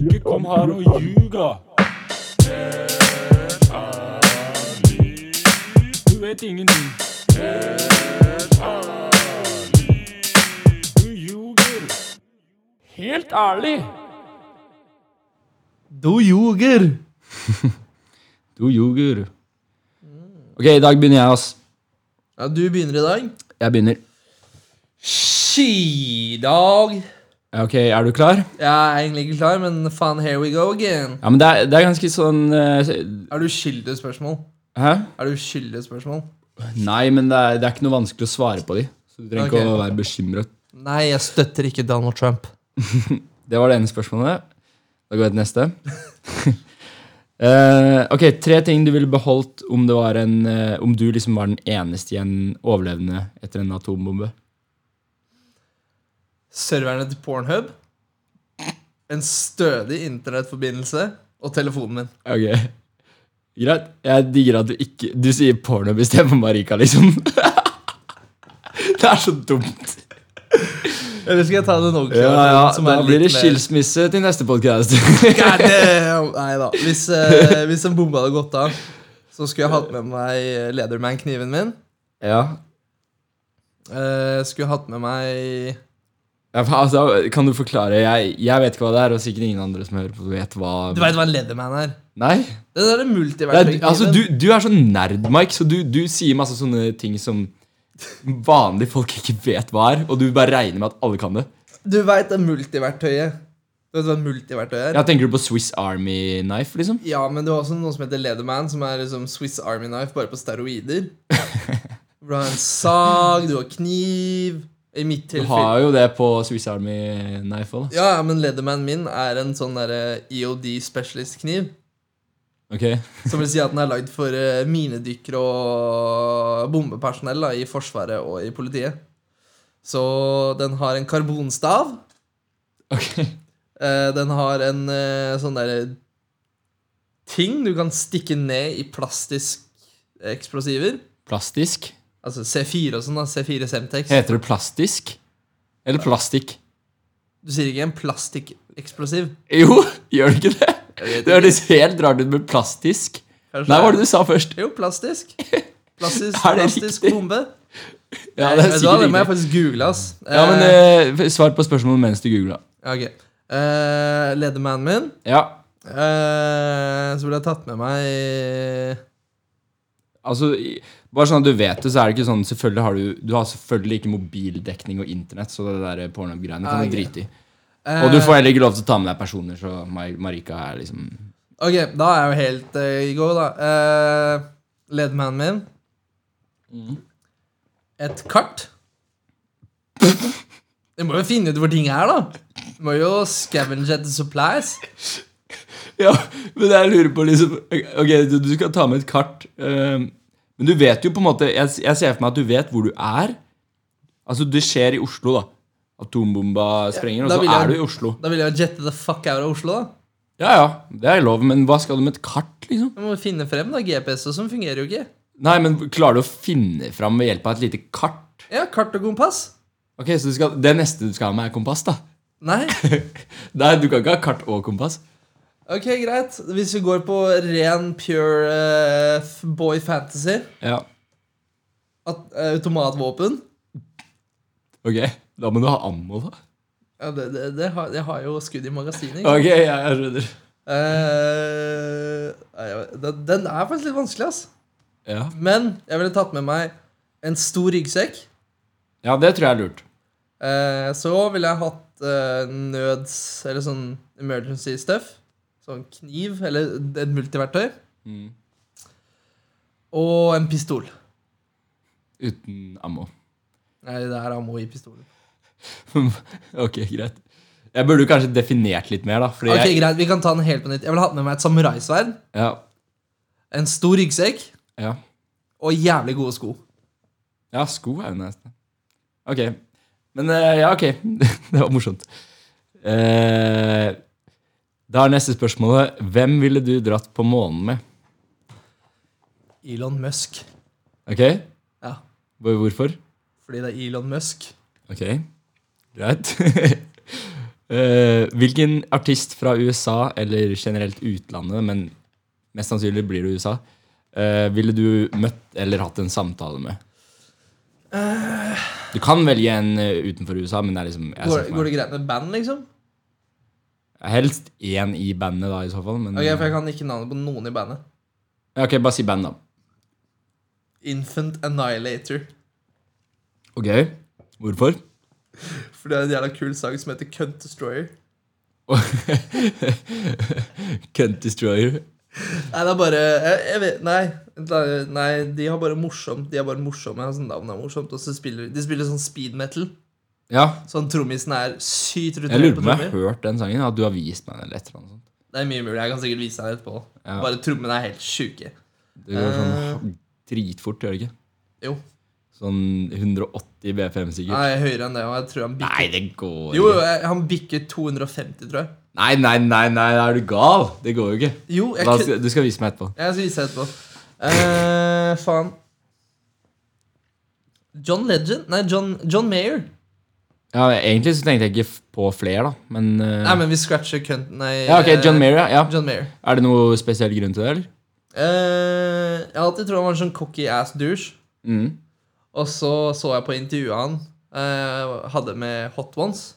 S2: Ikke kom her og ljug, da! Du vet ingenting. Du ljuger. Helt ærlig.
S4: Du ljuger!
S3: Du ljuger. Ok, i dag begynner jeg, ass.
S4: Ja, du begynner i dag.
S3: Jeg begynner.
S4: Skidag.
S3: Ja, Ok, er du klar?
S4: Jeg er egentlig ikke klar, men faen, here we go again.
S3: Ja, men det er, det er ganske sånn eh,
S4: Er du skyldig spørsmål?
S3: Hæ?
S4: Er du skyldig spørsmål?
S3: Nei, men det er, det er ikke noe vanskelig å svare på de. Så du trenger ikke
S4: Ok.
S3: å være bekymret.
S4: Nei, jeg støtter ikke Donald Trump.
S3: Det var det ene spørsmålet. Da går jeg til neste. Eh, ok, Tre ting du ville beholdt om, det var en, eh, om du liksom var den eneste igjen overlevende etter en atombombe.
S4: serverne til Pornhub, en stødig internettforbindelse og telefonen min.
S3: Ok. Greit. Jeg digger at du ikke Du sier porno istedenfor Marika, liksom. det er så dumt.
S4: Eller skal jeg ta den ordentlige?
S3: Ja, ja,
S4: som er
S3: Da blir det
S4: litt mer-
S3: skilsmisse til neste podkast.
S4: God damn! Nei da. Hvis, eh, hvis en bombe hadde gått av, så skulle jeg hatt med meg Leatherman-kniven min.
S3: ja.
S4: Eh, skulle hatt med meg
S3: Ja, fa- altså, kan du forklare? Jeg, jeg vet ikke hva det er, og sikkert ingen andre som hører på, vet hva
S4: Du veit hva en Leatherman er?
S3: Nei?
S4: Den derre
S3: Det er,
S4: multiverktøykniven.
S3: altså, du, du er sånn nerd, Mike, så du, du sier masse sånne ting som vanlige folk ikke vet hva er, og du bare regner med at alle kan det.
S4: Du veit det multiverktøyet. Du vet hva multiverktøy er?
S3: Ja, Tenker du på Swiss Army Knife, liksom?
S4: Ja, men du har også noe som heter Leatherman, som er liksom Swiss Army Knife, bare på steroider. Du har en sag, du har kniv I mitt
S3: Du
S4: tilfelle
S3: har jo det på Swiss Army Knife òg, da.
S4: Ja, ja, men Leatherman min er en sånn derre EOD specialist-kniv.
S3: Ok.
S4: Som vil si at den er lagd for eh, minedykkere og bombepersonell da, i Forsvaret og i politiet. Så den har en karbonstav.
S3: ok.
S4: Eh, den har en eh, sånn derre ting du kan stikke ned i plastisk eksplosiver.
S3: Plastisk?
S4: Altså C4 og sånn, da. C4 Semtex.
S3: Heter det plastisk? Eller plastikk?
S4: Du sier ikke en plastikkeksplosiv.
S3: Jo, gjør det ikke det?
S4: vet
S3: Det høres helt rart ut med plastisk.
S4: Kanskje
S3: Nei, hva var
S4: det
S3: det du sa først?
S4: Jo, plastisk. Plastisk,
S3: Er det
S4: plastisk
S3: riktig?
S4: bombe.
S3: Ja, det
S4: Vet
S3: er
S4: du
S3: sikkert
S4: hva, det må jeg
S3: riktig.
S4: faktisk google, ass.
S3: Ja, men
S4: eh,
S3: eh, Svar på spørsmålet mens du googla.
S4: ja, ok. Eh, Ledermannen min
S3: Ja,
S4: eh, Så ville jeg tatt med meg
S3: altså i- Bare sånn at du vet det, så er det ikke sånn Selvfølgelig har du Du har selvfølgelig ikke mobildekning og internett, så det der pornogreiene kan du
S4: Ah, ok.
S3: drite i.
S4: eh,
S3: Og du får heller ikke lov til å ta med deg personer, så Mar- Marika er liksom
S4: Ok, da er jeg jo helt eh, i går, da. Eh, Ledmannen min. Et kart. Du må jo finne ut hvor ting er, da. Du må jo scavenge etter supplies.
S3: Ja, men jeg lurer på liksom Ok, du, du skal ta med et kart eh, Men du vet jo på en måte jeg, jeg ser for meg at du vet hvor du er Altså, det skjer i Oslo da Atombomba sprenger,
S4: da
S3: og
S4: vil
S3: så
S4: jeg-
S3: er du i Oslo
S4: Da vil jeg jo jette the fuck out av Oslo, da.
S3: Ja, ja, det er lov, men hva skal du med et kart liksom?
S4: Du må jo finne frem, da. GPS og sånn fungerer jo ikke.
S3: Nei, men klarer du å finne fram ved hjelp av et lite kart?
S4: Ja, kart og kompass.
S3: Ok, så du skal, det neste du skal ha med er kompass da
S4: Nei.
S3: Nei, du kan ikke ha kart og kompass
S4: Ok, greit. Hvis vi går på ren pure eh, f- boy fantasy,
S3: Ja,
S4: at, eh, automatvåpen
S3: ok, da må du ha ammo da
S4: ja, det, det, det har, Jeg har jo skudd i magasinet. ikke
S3: Ok, jeg, jeg skjønner
S4: Eh, nei, jeg- den, den er faktisk litt vanskelig, ass.
S3: ja.
S4: Men jeg ville tatt med meg en stor ryggsekk.
S3: ja, det tror jeg er lurt
S4: Eh, så ville jeg hatt eh, nøds... Eller sånn emergency stuff. Sånn kniv eller et multiverktøy.
S3: Mm.
S4: Og en pistol.
S3: Uten ammo
S4: Nei, det er ammo i pistolen.
S3: ok, greit. Jeg burde jo kanskje definert litt mer, da. Fordi
S4: Ok,
S3: jeg,
S4: Greit, vi kan ta den helt på nytt. Jeg ville hatt med meg et samuraisverd,
S3: ja,
S4: en stor ryggsekk
S3: ja.
S4: og jævlig gode sko.
S3: ja, sko er jo nesten Ok. Men eh, ja, ok. det var morsomt. Eh, da er neste spørsmålet Hvem ville du dratt på månen med?
S4: Elon Musk.
S3: Ok?
S4: Ja,
S3: Hvor- Hvorfor?
S4: fordi det er Elon Musk.
S3: Ok, greit. Eh, hvilken artist fra USA, eller generelt utlandet, men mest sannsynlig blir det USA, eh, ville du møtt eller hatt en samtale med? Du kan velge en eh, utenfor USA, men det er liksom jeg ser for
S4: Går, går
S3: meg-
S4: det greit med band, liksom?
S3: Helst én i bandet, da, i så fall. Men,
S4: Ok, For jeg kan ikke navnet på noen i bandet.
S3: Ja, ok, bare si band, da.
S4: Infant Annihilator.
S3: Ok, hvorfor?
S4: For det er en jævla kul sang som heter Cunt Destroyer.
S3: Cunt Destroyer.
S4: Nei, det er bare jeg, jeg vet, nei, vent da, nei, de har bare morsomt. De er bare morsomme. Altså, navnet er morsomt. Og så spiller de spiller sånn speed metal.
S3: Ja,
S4: Sånn trommisen er sykt rutinert
S3: jeg lurer på
S4: på
S3: om jeg har
S4: trommer.
S3: hørt den sangen, at du har vist meg den eller et eller annet sånt.
S4: Det er mye mulig. Jeg kan sikkert vise deg det etterpå.
S3: Ja.
S4: Bare trommene er helt sjuke.
S3: Det går sånn dritfort, gjør det ikke?
S4: Jo.
S3: Sånn 180 BPM sikkert.
S4: Nei, høyere enn det. Og jeg tror han bikker
S3: Nei, det går
S4: Jo,
S3: ikke.
S4: jeg- han bikker 250, tror jeg.
S3: Nei, nei, nei, nei, er du gal? Det går jo ikke.
S4: Jo, jeg
S3: Da
S4: kødder.
S3: skal, du skal vise meg etterpå.
S4: Jeg skal vise deg etterpå. Eh, faen. John Legend? Nei, John, John Mayer.
S3: Ja, Egentlig så tenkte jeg ikke f- på flere, da, men, eh,
S4: Nei, men vi scratcher kønten. Nei, eh,
S3: Ja, ok, John Mayer, ja, ja.
S4: John Mayer.
S3: Er det noe spesiell grunn til det, eller?
S4: Eh, jeg har alltid trodd han var en sånn cocky ass douche.
S3: Mm.
S4: Og så så jeg på intervjuet han eh, hadde med Hot Ones.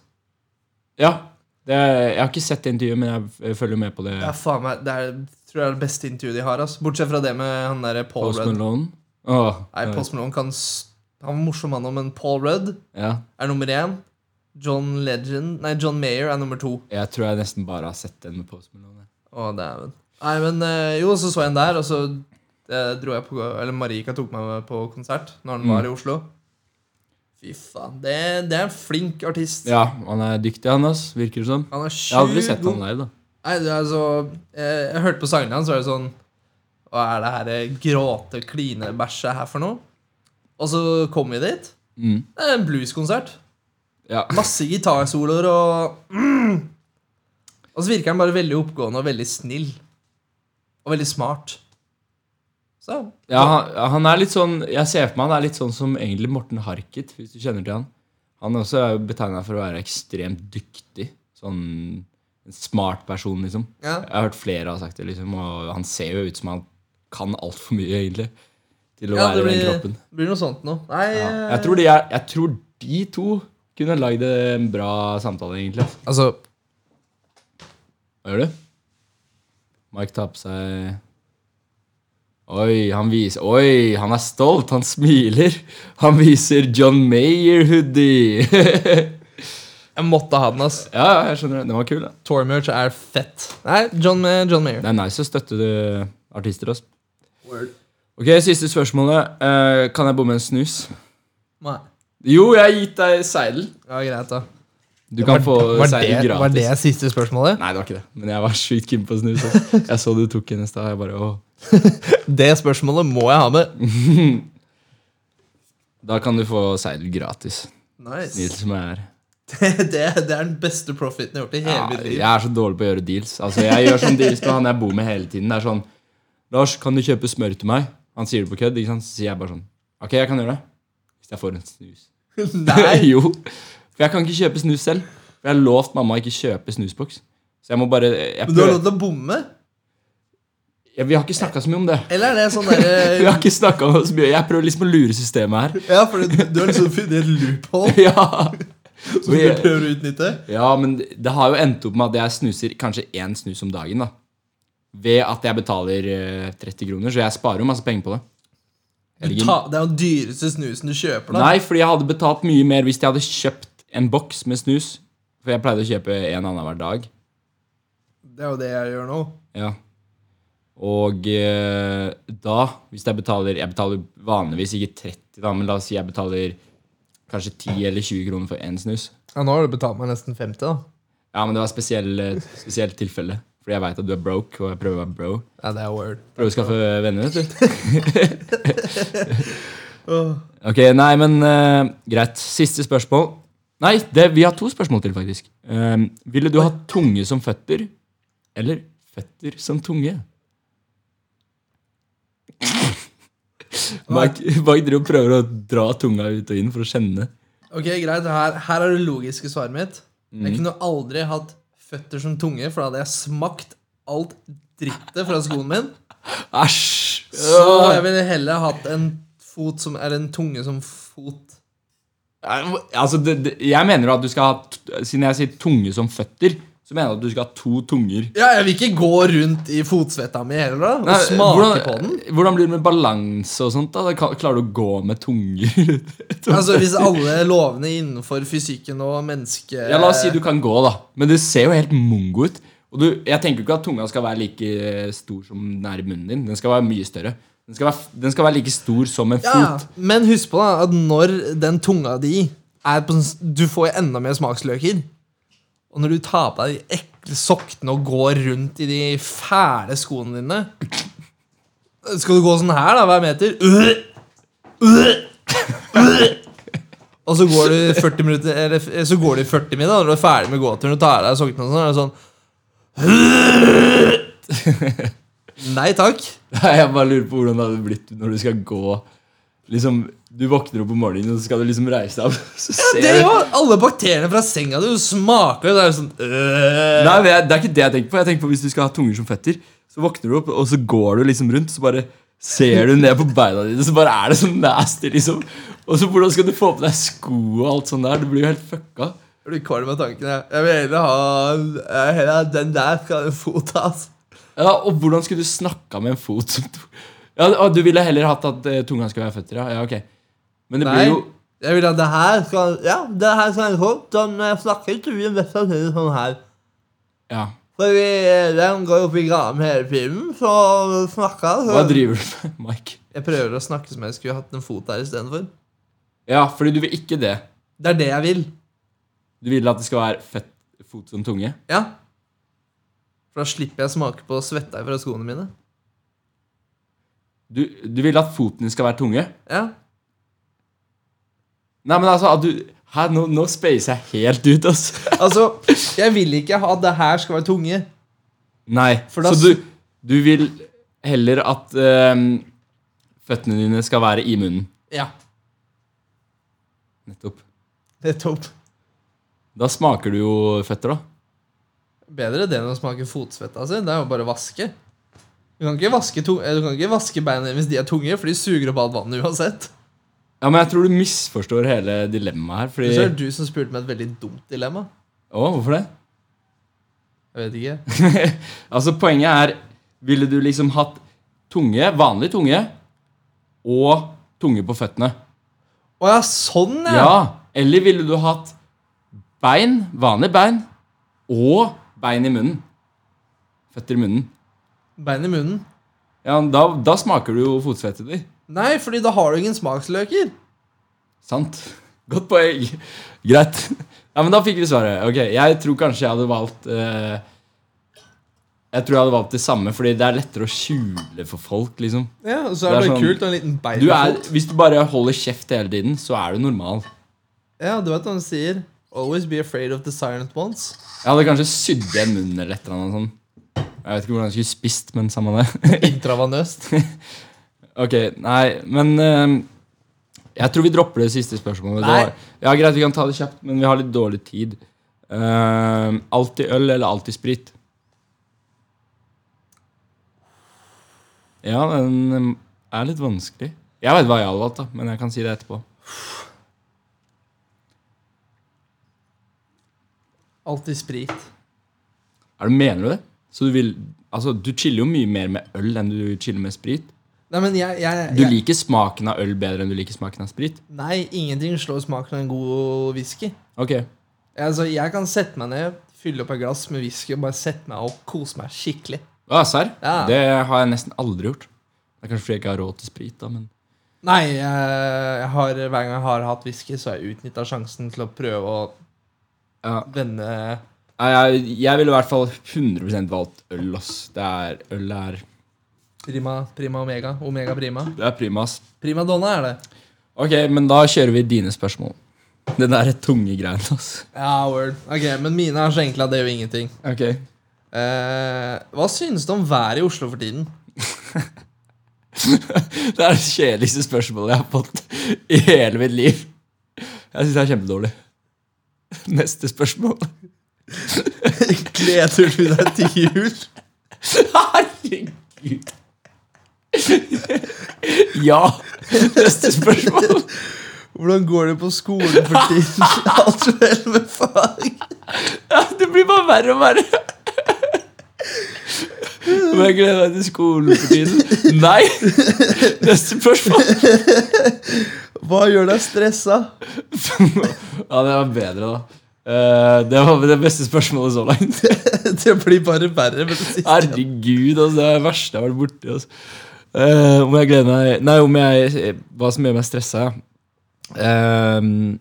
S3: Ja. Det er, jeg har ikke sett det intervjuet, men jeg f- følger med på det.
S4: Ja, faen meg, Det er, tror jeg er det beste intervjuet de har. ass. Bortsett fra det med han derre Paul
S3: Post
S4: Rudd.
S3: Malone. Åh, eh,
S4: Nei, Post Malone kan s- Han var en morsom mann, men Paul Rudd
S3: ja.
S4: er nummer én. John Legend Nei, John Mayer er nummer to.
S3: Jeg tror jeg nesten bare har sett den med Post Malone.
S4: Å, dæven. Nei, men eh, jo, så så jeg en der, og så eh, dro jeg på Eller Marika tok meg med på konsert når han
S3: Mm.
S4: var i Oslo. Fy faen. Det, det er en flink artist.
S3: Ja, han er dyktig, han, ass. Virker det som.
S4: Han er
S3: Jeg har aldri
S4: sjukt
S3: sett
S4: god.
S3: han live, da.
S4: Nei, det er så Jeg, jeg hørte på sangene hans, så er det sånn Hva er det her eh, gråte, kline, bæsje her for noe? Og så kom vi dit.
S3: Mm.
S4: Det er en blueskonsert.
S3: Ja.
S4: Masse gitarsoloer og mm. Og så virker han bare veldig oppgående og veldig snill. Og veldig smart. Så
S3: Ja, han, han er litt sånn Jeg ser for meg han er litt sånn som egentlig Morten Harket, hvis du kjenner til han. Han også er betegna for å være ekstremt dyktig. Sånn en smart person, liksom.
S4: Ja.
S3: Jeg har hørt flere ha sagt det, liksom, og han ser jo ut som han kan altfor mye, egentlig, til å
S4: ja, det
S3: være i den
S4: blir,
S3: kroppen.
S4: blir noe sånt noe. Nei,
S3: Ja.
S4: eh,
S3: Jeg, tror de er, jeg tror de to kunne lagd en bra samtale, egentlig. ass.
S4: Altså
S3: Hva gjør du? Mike tar på seg Oi, han viser Oi, han er stolt! Han smiler! Han viser John Mayer-hoodie!
S4: Jeg måtte ha den, ass.
S3: ja, jeg skjønner det. Den var kul, da.
S4: Tormurch er fett. Nei, John, eh, John Mayer.
S3: Det er nice å støtte eh, artister, ass. Ok, siste spørsmålet. Eh, kan jeg bomme en snus?
S4: Nei.
S3: Jo, jeg har gitt deg seidel.
S4: Ja, greit, da.
S3: Du kan få seidel gratis.
S4: var det siste spørsmålet?
S3: Nei, det var ikke det. Men jeg var sjukt keen på snus. ass. Jeg så du tok en i stad. Jeg bare åh.
S4: Det spørsmålet må jeg ha med.
S3: Da kan du få seidel gratis. Nils
S4: Nice.
S3: som er her.
S4: Det, det er den beste profiten jeg har gjort i hele
S3: Ja,
S4: mitt liv.
S3: jeg er så dårlig på å gjøre deals. Altså, jeg gjør sånn deals med han jeg bor med hele tiden. Det er sånn Lars, kan du kjøpe smør til meg? Han sier det på kødd. ikke sant? Så sier jeg bare sånn Ok, jeg kan gjøre det. Hvis jeg får en snus.
S4: Nei,
S3: jo. For jeg kan ikke kjøpe snus selv. For jeg har lovt mamma å ikke kjøpe snusboks. Så jeg må bare jeg
S4: men du har lov
S3: prøver,
S4: til å bomme?
S3: jeg, Vi har ikke snakka så mye om det.
S4: Eller er det sånn
S3: Vi
S4: derre
S3: har ikke snakket om det så mye. Jeg prøver liksom å lure systemet her.
S4: Ja, for du, du har liksom funnet et loophole
S3: Ja,
S4: som du
S3: Vi-
S4: prøver å utnytte?
S3: ja men det- det har jo endt opp med at jeg snuser kanskje én snus om dagen. da. Ved at jeg betaler eh, 30 kroner, så jeg sparer jo masse penger på det.
S4: Du
S3: Helgen.
S4: Ta, det er jo den dyreste snusen du kjøper, da.
S3: Nei, fordi jeg hadde betalt mye mer hvis jeg hadde kjøpt en boks med snus. For jeg pleide å kjøpe en annen hver dag.
S4: Det er jo det jeg gjør nå.
S3: Ja. Og eh, da, hvis jeg betaler Jeg betaler vanligvis ikke 30, da, men la oss si jeg betaler kanskje 10 eller 20 kroner for én snus.
S4: Ja, Nå har du betalt meg nesten 50, da.
S3: Ja, men det var spesiell, eh, spesielt tilfelle. Fordi jeg veit at du er broke, og jeg prøver å være bro.
S4: Ja, det er word.
S3: Prøver å skaffe venner, vet du. Ok, nei, men eh, greit. Siste spørsmål. Nei, det, vi har to spørsmål til, faktisk. Eh, ville du ha tunge som føtter, eller føtter som tunge? Mike Mike driver og prøver å dra tunga ut og inn for å kjenne.
S4: Ok, greit. Her, her er det logiske svaret mitt.
S3: Mm.
S4: Jeg kunne aldri hatt føtter som tunge, for da hadde jeg smakt alt drittet fra skoen min.
S3: Æsj!
S4: Så jeg ville heller hatt en fot som Eller en tunge som fot.
S3: Nei, Altså, det, det, jeg mener jo at du skal ha t- Siden jeg sier tunge som føtter, så mener jeg at du skal ha to tunger.
S4: Ja, jeg vil ikke gå rundt i fotsvetta mi heller, da. Og
S3: Nei,
S4: smake
S3: hvordan,
S4: på den.
S3: hvordan blir det med balanse og sånt? da? da? ka- Klarer du å gå med tunger?
S4: Altså, Hvis alle lovene innenfor fysikken og menneske...
S3: ja, La oss si du kan gå, da. Men det ser jo helt mongo ut. Og du, jeg tenker jo ikke at tunga skal være like stor som den er i munnen din. Den skal være mye større. Den skal være, f- den skal være like stor som en
S4: Ja,
S3: fot.
S4: Men husk på da, at når den tunga di er på sånn Du får jo enda mer smaksløker. Og når du tar på deg de ekle sokkene og går rundt i de fæle skoene dine Skal du gå sånn her, da, hver meter? Øh! Øh! Og så går du 40 minutter Eller f- så går du 40 minutter, og når du er ferdig med gåturen og tar av deg sokkene, og sånn, er det sånn Nei takk.
S3: Nei, jeg bare lurer på hvordan det hadde blitt når du skal gå Liksom, Du våkner opp om morgenen, og så skal du liksom reise deg opp. Så ser
S4: Det er
S3: du
S4: jo alle bakteriene fra senga du smaker jo, det er jo sånn øh.
S3: Nei, men jeg, Det er ikke det jeg tenker på. Jeg tenker på Hvis du skal ha tunger som fetter, så våkner du opp, og så går du liksom rundt, så bare ser du ned på beina dine, så bare er det sånn nasty, liksom. Og så hvordan skal du få på deg sko og alt sånt der? Du blir jo helt fucka.
S4: Jeg blir kvalm av tanken. Jeg. jeg vil heller ha jeg vil heller ha Den der skal ha en fot, altså. ass.
S3: Ja, Og hvordan skulle du snakka med en fot som to Ja, og Du ville heller hatt at eh, tunga skulle være føtter, ja? ja ok. Men det
S4: Nei.
S3: blir jo
S4: Jeg vil at det her skal Ja, det her skal være en fot. Sånn når jeg snakker, så blir det mest sannsynlig sånn her.
S3: Ja.
S4: For vi, den går opp i graven hele tiden, så snakker
S3: Hva
S4: så
S3: driver du med, Mike?
S4: Jeg prøver å snakke som jeg skulle hatt en fot der istedenfor.
S3: Ja, fordi du vil ikke det.
S4: Det er det jeg vil.
S3: Du vil at det skal være fett fot som tunge?
S4: Ja. For da slipper jeg å smake på svetta fra skoene mine.
S3: Du, du vil at foten din skal være tunge?
S4: Ja.
S3: Nei, men altså at du, her, nå, nå spacer jeg helt ut, altså.
S4: Altså, jeg vil ikke ha at det her skal være tunge.
S3: Nei,
S4: For da-
S3: så du, du vil heller at ehm, føttene dine skal være i munnen.
S4: Ja.
S3: Nettopp.
S4: Nettopp.
S3: Da smaker du jo føtter, da.
S4: Bedre det enn å smake fotsvetta si. Det er jo bare å vaske. Du kan ikke vaske, tu- eh, du kan ikke vaske beina dine hvis de er tunge, for de suger opp alt vannet uansett.
S3: Ja, men jeg tror du misforstår hele dilemmaet her, fordi
S4: Så er det du som spurte meg et veldig dumt dilemma.
S3: Å, hvorfor det?
S4: Jeg vet ikke.
S3: Altså, poenget er Ville du liksom hatt tunge, vanlig tunge, og tunge på føttene?
S4: Å ja, sånn, ja.
S3: Ja. Eller ville du hatt bein, vanlig bein, og bein i munnen? Føtter i munnen.
S4: Bein i munnen.
S3: Ja, da, da smaker du jo fotsvette di.
S4: Nei, fordi da har du ingen smaksløker.
S3: Sant. Godt poeng. Greit. Ja, men da fikk vi svaret. Ok, Jeg tror kanskje jeg hadde valgt eh, Jeg tror jeg hadde valgt det samme, fordi det er lettere å skjule for folk, liksom.
S4: Ja, og så
S3: Det er
S4: er det, bare
S3: sånn-
S4: kult å ha en liten bein
S3: Du
S4: i
S3: er,
S4: fot.
S3: hvis du bare holder kjeft hele tiden, så er du normal.
S4: Ja, du vet hva han sier. Always be afraid of the silent ones.
S3: Jeg hadde kanskje sydd igjen munnen eller et eller annet sånn. Jeg vet ikke hvordan jeg skulle spist, men samme det.
S4: Intravenøst.
S3: ok, nei, men eh, Jeg tror vi dropper det siste spørsmålet. Det
S4: Nei.
S3: var- ja, Greit, vi kan ta det kjapt, men vi har litt dårlig tid. Uh, alltid øl eller alltid sprit? Ja, den eh, er litt vanskelig. Jeg vet hva jeg hadde valgt, da, men jeg kan si det etterpå.
S4: Alltid sprit.
S3: Er du, mener du det? Så du vil Altså, du chiller jo mye mer med øl enn du chiller med sprit.
S4: Nei, men jeg, jeg,
S3: Du
S4: jeg
S3: liker smaken av øl bedre enn du liker smaken av sprit?
S4: Nei, ingenting slår smaken av en god whisky.
S3: Ok.
S4: Altså, jeg kan sette meg ned, fylle opp et glass med whisky og bare sette meg opp, kose meg skikkelig.
S3: Ja, serr?
S4: Ja.
S3: Det har jeg nesten aldri gjort. Det er kanskje fordi jeg ikke har råd til sprit, da, men
S4: Nei, eh, jeg, jeg har, hver gang jeg har hatt whisky, så har jeg utnytta sjansen til å prøve å
S3: Ja.
S4: vende
S3: Nei, jeg, jeg ville i hvert fall 100 valgt øl, ass. Det er, øl er,
S4: prima, prima omega. Omega prima.
S3: det er prima, ass.
S4: Prima donna er det.
S3: Ok, men da kjører vi dine spørsmål. Den der tunge greien, ass.
S4: Ja, word. Ok, Men mine er så enkle at det gjør ingenting.
S3: Ok.
S4: Eh, hva synes du om været i Oslo for tiden?
S3: Det er det kjedeligste spørsmålet jeg har fått i hele mitt liv. Jeg syns det er kjempedårlig. Neste spørsmål.
S4: Gleder du deg til jul?
S3: Herregud. Ja. Neste spørsmål.
S4: Hvordan går det på skolen for tiden? Alt vel med fag?
S3: Ja, det blir bare verre og verre. Om jeg gleder meg til skolen for tiden? Nei! Neste spørsmål.
S4: Hva gjør deg stressa?
S3: Ja, det var bedre, da. Eh, det var det beste spørsmålet så langt.
S4: Det blir bare verre med det siste.
S3: Herregud, altså, det er det verste jeg har vært borti. Altså. Eh, om jeg gleder meg Nei, om jeg Hva som gjør meg stressa? ja. Ehm,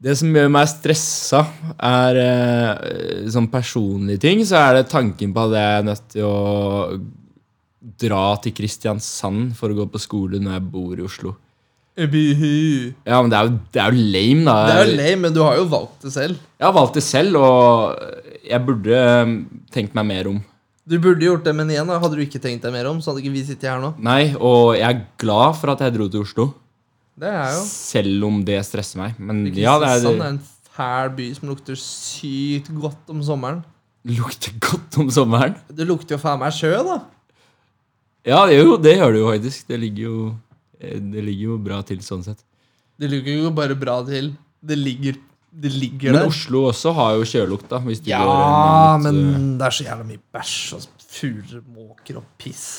S3: det som gjør meg stressa, er eh, sånn personlige ting. Så er det tanken på at jeg er nødt til å dra til Kristiansand for å gå på skole når jeg bor i Oslo.
S4: Ubihu.
S3: Ja, men det er jo, det er jo lame, da.
S4: Det er jo lame, men du har jo valgt det selv.
S3: Jeg har valgt det selv, og jeg burde eh, tenkt meg mer om.
S4: Du burde gjort det, men igjen da, hadde du ikke tenkt deg mer om, så hadde ikke vi sittet her nå.
S3: Nei, og jeg er glad for at jeg dro til Oslo.
S4: Det er jo
S3: Selv om det stresser meg. Men ja, det er,
S4: Kristiansand er sånn, en fæl by som lukter sykt godt om sommeren.
S3: lukter godt om sommeren.
S4: Det lukter jo faen meg sjø, da.
S3: Ja, det, jo, det gjør det jo faktisk. Det ligger jo, eh, det ligger jo bra til sånn sett.
S4: Det lukter jo bare bra til. Det ligger, det ligger
S3: Men
S4: der.
S3: Oslo også har jo kjølelukt, da. Hvis du går
S4: Ja,
S3: eh, mot, eh,
S4: men det er så jævla mye bæsj og fuglemåker og piss.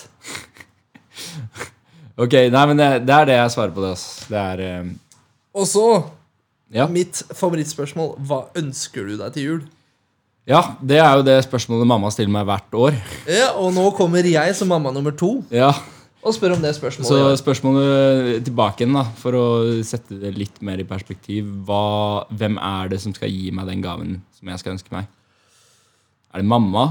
S3: eh. Ok, nei, men det, det er det jeg svarer på det, ass. Det er eh,
S4: Og så,
S3: ja.
S4: mitt favorittspørsmål, hva ønsker du deg til jul?
S3: ja, det er jo det spørsmålet mamma stiller meg hvert år.
S4: Ja, og nå kommer jeg som mamma nummer to
S3: Ja,
S4: og spør om det spørsmålet.
S3: Så
S4: jeg har.
S3: spørsmålet tilbake igjen, da, for å sette det litt mer i perspektiv. Hva, hvem er det som skal gi meg den gaven som jeg skal ønske meg? Er det mamma?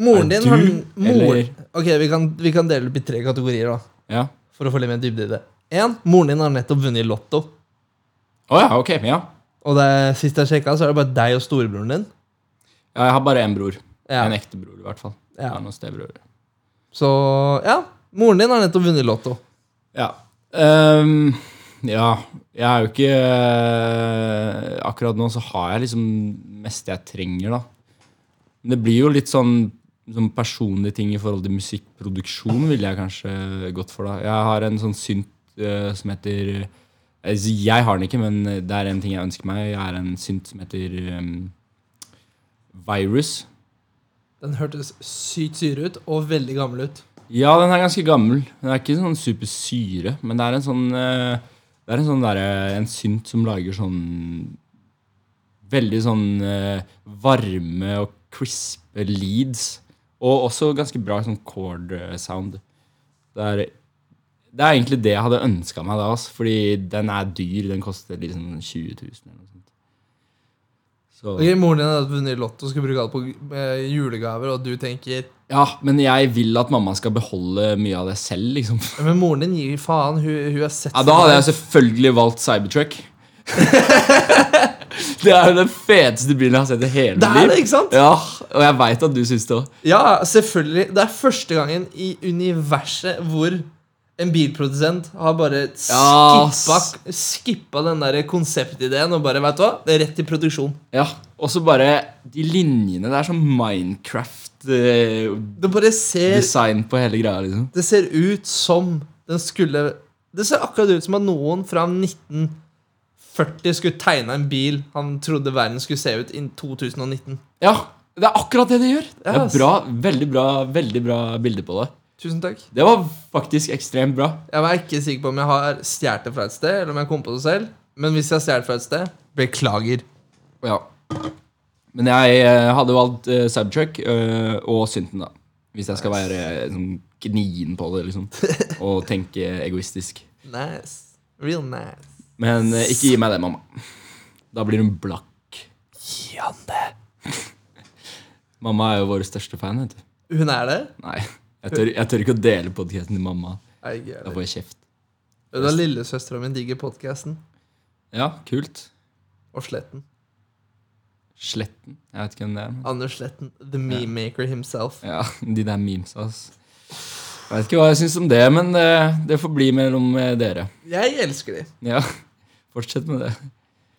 S4: Moren
S3: er
S4: din
S3: du,
S4: har mor...
S3: eller-
S4: Ok, vi kan, vi kan dele opp i tre kategorier, da.
S3: Ja.
S4: For å få litt mer dybde i det. En, moren din har nettopp vunnet i Lotto.
S3: Å ja, ok. Ja.
S4: Og det, sist jeg sjekka, så er det bare deg og storebroren din.
S3: ja. Jeg har bare én bror.
S4: Ja.
S3: En ekte bror, i hvert fall.
S4: Ja.
S3: Jeg har noen stebrødre.
S4: Så ja, moren din har nettopp vunnet i Lotto.
S3: Ja. Ehm, ja. Jeg er jo ikke eh, Akkurat nå så har jeg liksom meste jeg trenger, da. Men det blir jo litt sånn, sånn personlige ting i forhold til musikkproduksjon, ville jeg kanskje gått for, da. Jeg har en sånn synt eh, som heter eh, Jeg har den ikke, men det er en ting jeg ønsker meg. Jeg har en synt som heter ehm, Virus.
S4: Den hørtes sykt syre ut og veldig gammel ut.
S3: Ja, den er ganske gammel. Den er ikke sånn supersyre, men det er en sånn eh, Det er en sånn derre En synt som lager sånn Veldig sånn eh, varme og crispe leads. Og også ganske bra sånn chord eh, sound. Det er, det er egentlig det jeg hadde ønska meg da, altså, fordi den er dyr. Den koster liksom 20 000 eller noe sånt. Så
S4: Ok, Moren din har vunnet i Lotto og skal bruke alt på eh, julegaver, og du tenker
S3: Ja, men jeg vil at mamma skal beholde mye av det selv, liksom.
S4: «Ja, Men moren din gir faen. Hun, hun har sett
S3: Ja, Da hadde jeg selvfølgelig valgt Cybertruck. det er jo den feteste bilen jeg har sett i hele
S4: Det
S3: mitt
S4: er
S3: liv.
S4: det, ikke sant?
S3: Ja, Og jeg veit at du syns det òg.
S4: Ja, selvfølgelig. Det er første gangen i universet hvor en bilprodusent har bare
S3: Ja,
S4: skippa, skippa den der konseptideen og bare, vet du hva, det er rett til produksjon.
S3: Ja. Og så bare de linjene. Det er sånn Minecraft-design
S4: Det bare ser
S3: på hele greia. liksom
S4: Det ser ut som den skulle Det ser akkurat ut som at noen fra 1940 skulle tegne en bil han trodde verden skulle se ut innen 2019.
S3: Ja, Det er akkurat det det gjør. Det
S4: Ja,
S3: er
S4: ass.
S3: bra, Veldig bra veldig bra bilde på det.
S4: Tusen takk.
S3: Det var faktisk ekstremt bra.
S4: Jeg var ikke sikker på om jeg har stjålet det fra et sted, eller om jeg kom på det selv. Men hvis jeg har stjålet fra et sted, beklager.
S3: Ja. Men jeg eh, hadde valgt uh, Cybertruck eh, og Synten, da. Hvis jeg skal være eh, sånn gnien på det, liksom. Og tenke egoistisk.
S4: Nice. Real nice.
S3: Men eh, ikke gi meg det, mamma. Da blir hun blakk.
S4: Gi han det.
S3: Mamma er jo vår største fan, vet du.
S4: Hun er det?
S3: Nei, jeg tør, jeg tør ikke å dele podkasten til mamma.
S4: Nei, ikke
S3: Da
S4: jeg.
S3: får jeg kjeft.
S4: Vet du hva lillesøstera mi digger podkasten?
S3: Ja, kult.
S4: Og Sletten.
S3: Sletten. Jeg vet ikke hvem det er. Men.
S4: Anders Sletten. The meme maker himself.
S3: Ja, De der memesa, ass. Jeg vet ikke hva jeg syns om det, men eh, det får bli mellom eh, dere.
S4: Jeg elsker de.
S3: Ja, fortsett med det.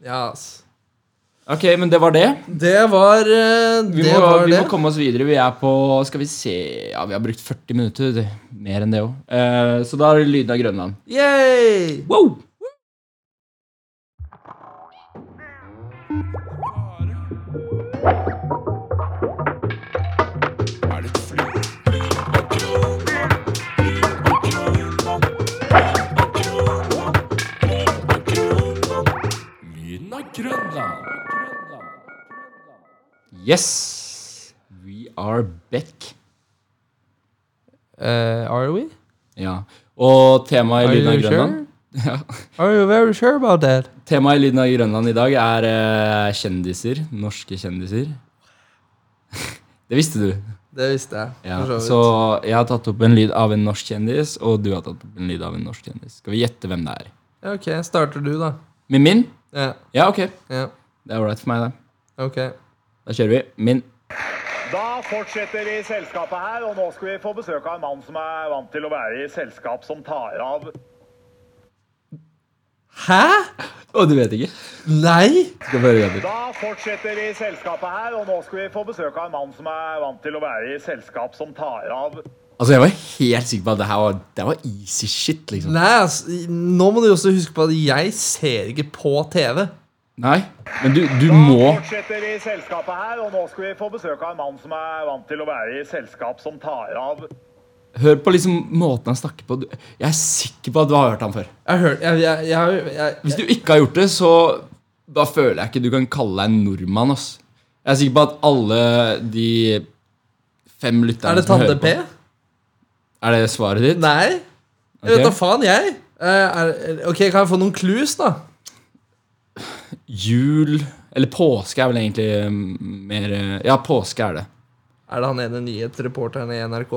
S4: Ja, ass.
S3: Ok, men det var det.
S4: Det var eh,
S3: Vi,
S4: Det
S3: må,
S4: var
S3: vi
S4: det.
S3: må komme oss videre. Vi er på Skal vi se Ja, vi har brukt 40 minutter. det- Mer enn det òg. så da er det lyden av Grønland.
S4: Yay!
S3: Wow!
S2: Er det et fly? Lyden av Grønland.
S3: Yes! We are back.
S4: Eh, are we?
S3: Ja. Og temaet i
S4: Are
S3: Lyden av
S4: you
S3: Grønland ja.
S4: Are you very sure about that?
S3: Temaet i Lyden av Grønland i dag er eh, kjendiser. Norske kjendiser. det visste du.
S4: Det visste jeg.
S3: Ja.
S4: for vidt.
S3: Så jeg har tatt opp en lyd av en norsk kjendis, og du har tatt opp en lyd av en norsk kjendis. Skal vi gjette hvem det er?
S4: Ja, Ok, starter du, da.
S3: Med min?
S4: Ja,
S3: Ja, ok.
S4: ja,
S3: Det er ålreit for meg, det.
S4: ok.
S3: Da kjører vi. Min.
S5: Da fortsetter vi selskapet her, og nå skal vi få besøk av en mann som er vant til å være i selskap som tar av
S4: Hæ?
S3: Å, du vet ikke?
S4: Nei?
S3: Skal få høre en gang til.
S5: Da fortsetter vi selskapet her, og nå skal vi få besøk av en mann som er vant til å være i selskap som tar av
S3: Altså, jeg var helt sikker på at det her var, det var easy shit, liksom.
S4: Nei, altså, nå må du også huske på at jeg ser ikke på TV.
S3: Nei, men du, du
S5: Da
S3: må
S5: fortsetter vi selskapet her, og nå skal vi få besøk av en mann som er vant til å være i selskap som tar av
S3: Hør på liksom måten han snakker på. Du- Jeg er sikker på at du har hørt ham før.
S4: Jeg har hørt jeg, jeg, jeg, jeg,
S3: Hvis du ikke har gjort det, så da føler jeg ikke du kan kalle deg en nordmann. ass. Jeg er sikker på at alle de fem lytterne
S4: Er det
S3: som
S4: Tande
S3: hører
S4: P?
S3: på- Er det svaret ditt?
S4: Nei. Jeg
S3: Ok.
S4: vet da faen, jeg. Eh, er, ok, Kan jeg få noen clues, da?
S3: Jul Eller påske er vel egentlig mm, mer eh, Ja, påske er det.
S4: Er det han ene nyhetsreporteren i NRK?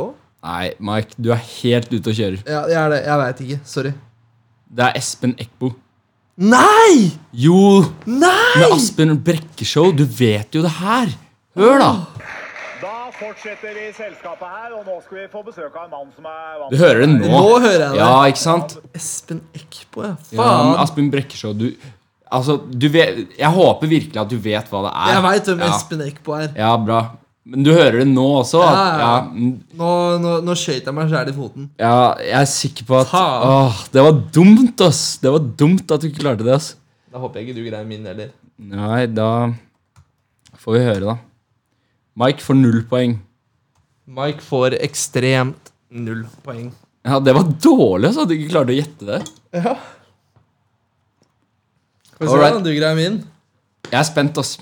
S3: Nei, Mike, du er helt ute og kjører.
S4: Ja, jeg er det. Jeg veit ikke. Sorry.
S3: Det er Espen Eckbo.
S4: Nei!
S3: Jo!
S4: Nei!
S3: Med Aspen Brekke-show. Du vet jo det her. Hør, da.
S5: Da fortsetter vi selskapet her, og nå skal vi få besøk av en mann som er vant
S3: Du hører det nå.
S4: Nå hører jeg det.
S3: Ja, ikke sant?
S4: Espen Eckbo, ja.
S3: Ja,
S4: Faen.
S3: men Aspen Brekkesjå, du Altså, du vet Jeg håper virkelig at du vet hva det er.
S4: jeg veit hvem
S3: ja.
S4: Espen Eckbo er.
S3: Ja, bra. Men du hører det nå også? At,
S4: Ja,
S3: ja,
S4: ja, ja.
S3: mm,
S4: Nå, nå, nå skøyt jeg meg sjæl i foten.
S3: ja, jeg er sikker på at
S4: Faen.
S3: Åh, det var dumt, ass! Det var dumt at du ikke klarte det, ass.
S4: Da håper jeg ikke du greier min heller.
S3: Nei, da får vi høre, da. Mike får null poeng.
S4: Mike får ekstremt null poeng.
S3: Ja, Det var dårlig ass, at du ikke klarte å gjette det.
S4: Skal vi se
S3: Alright.
S4: om du greier min.
S3: Jeg er spent, ass.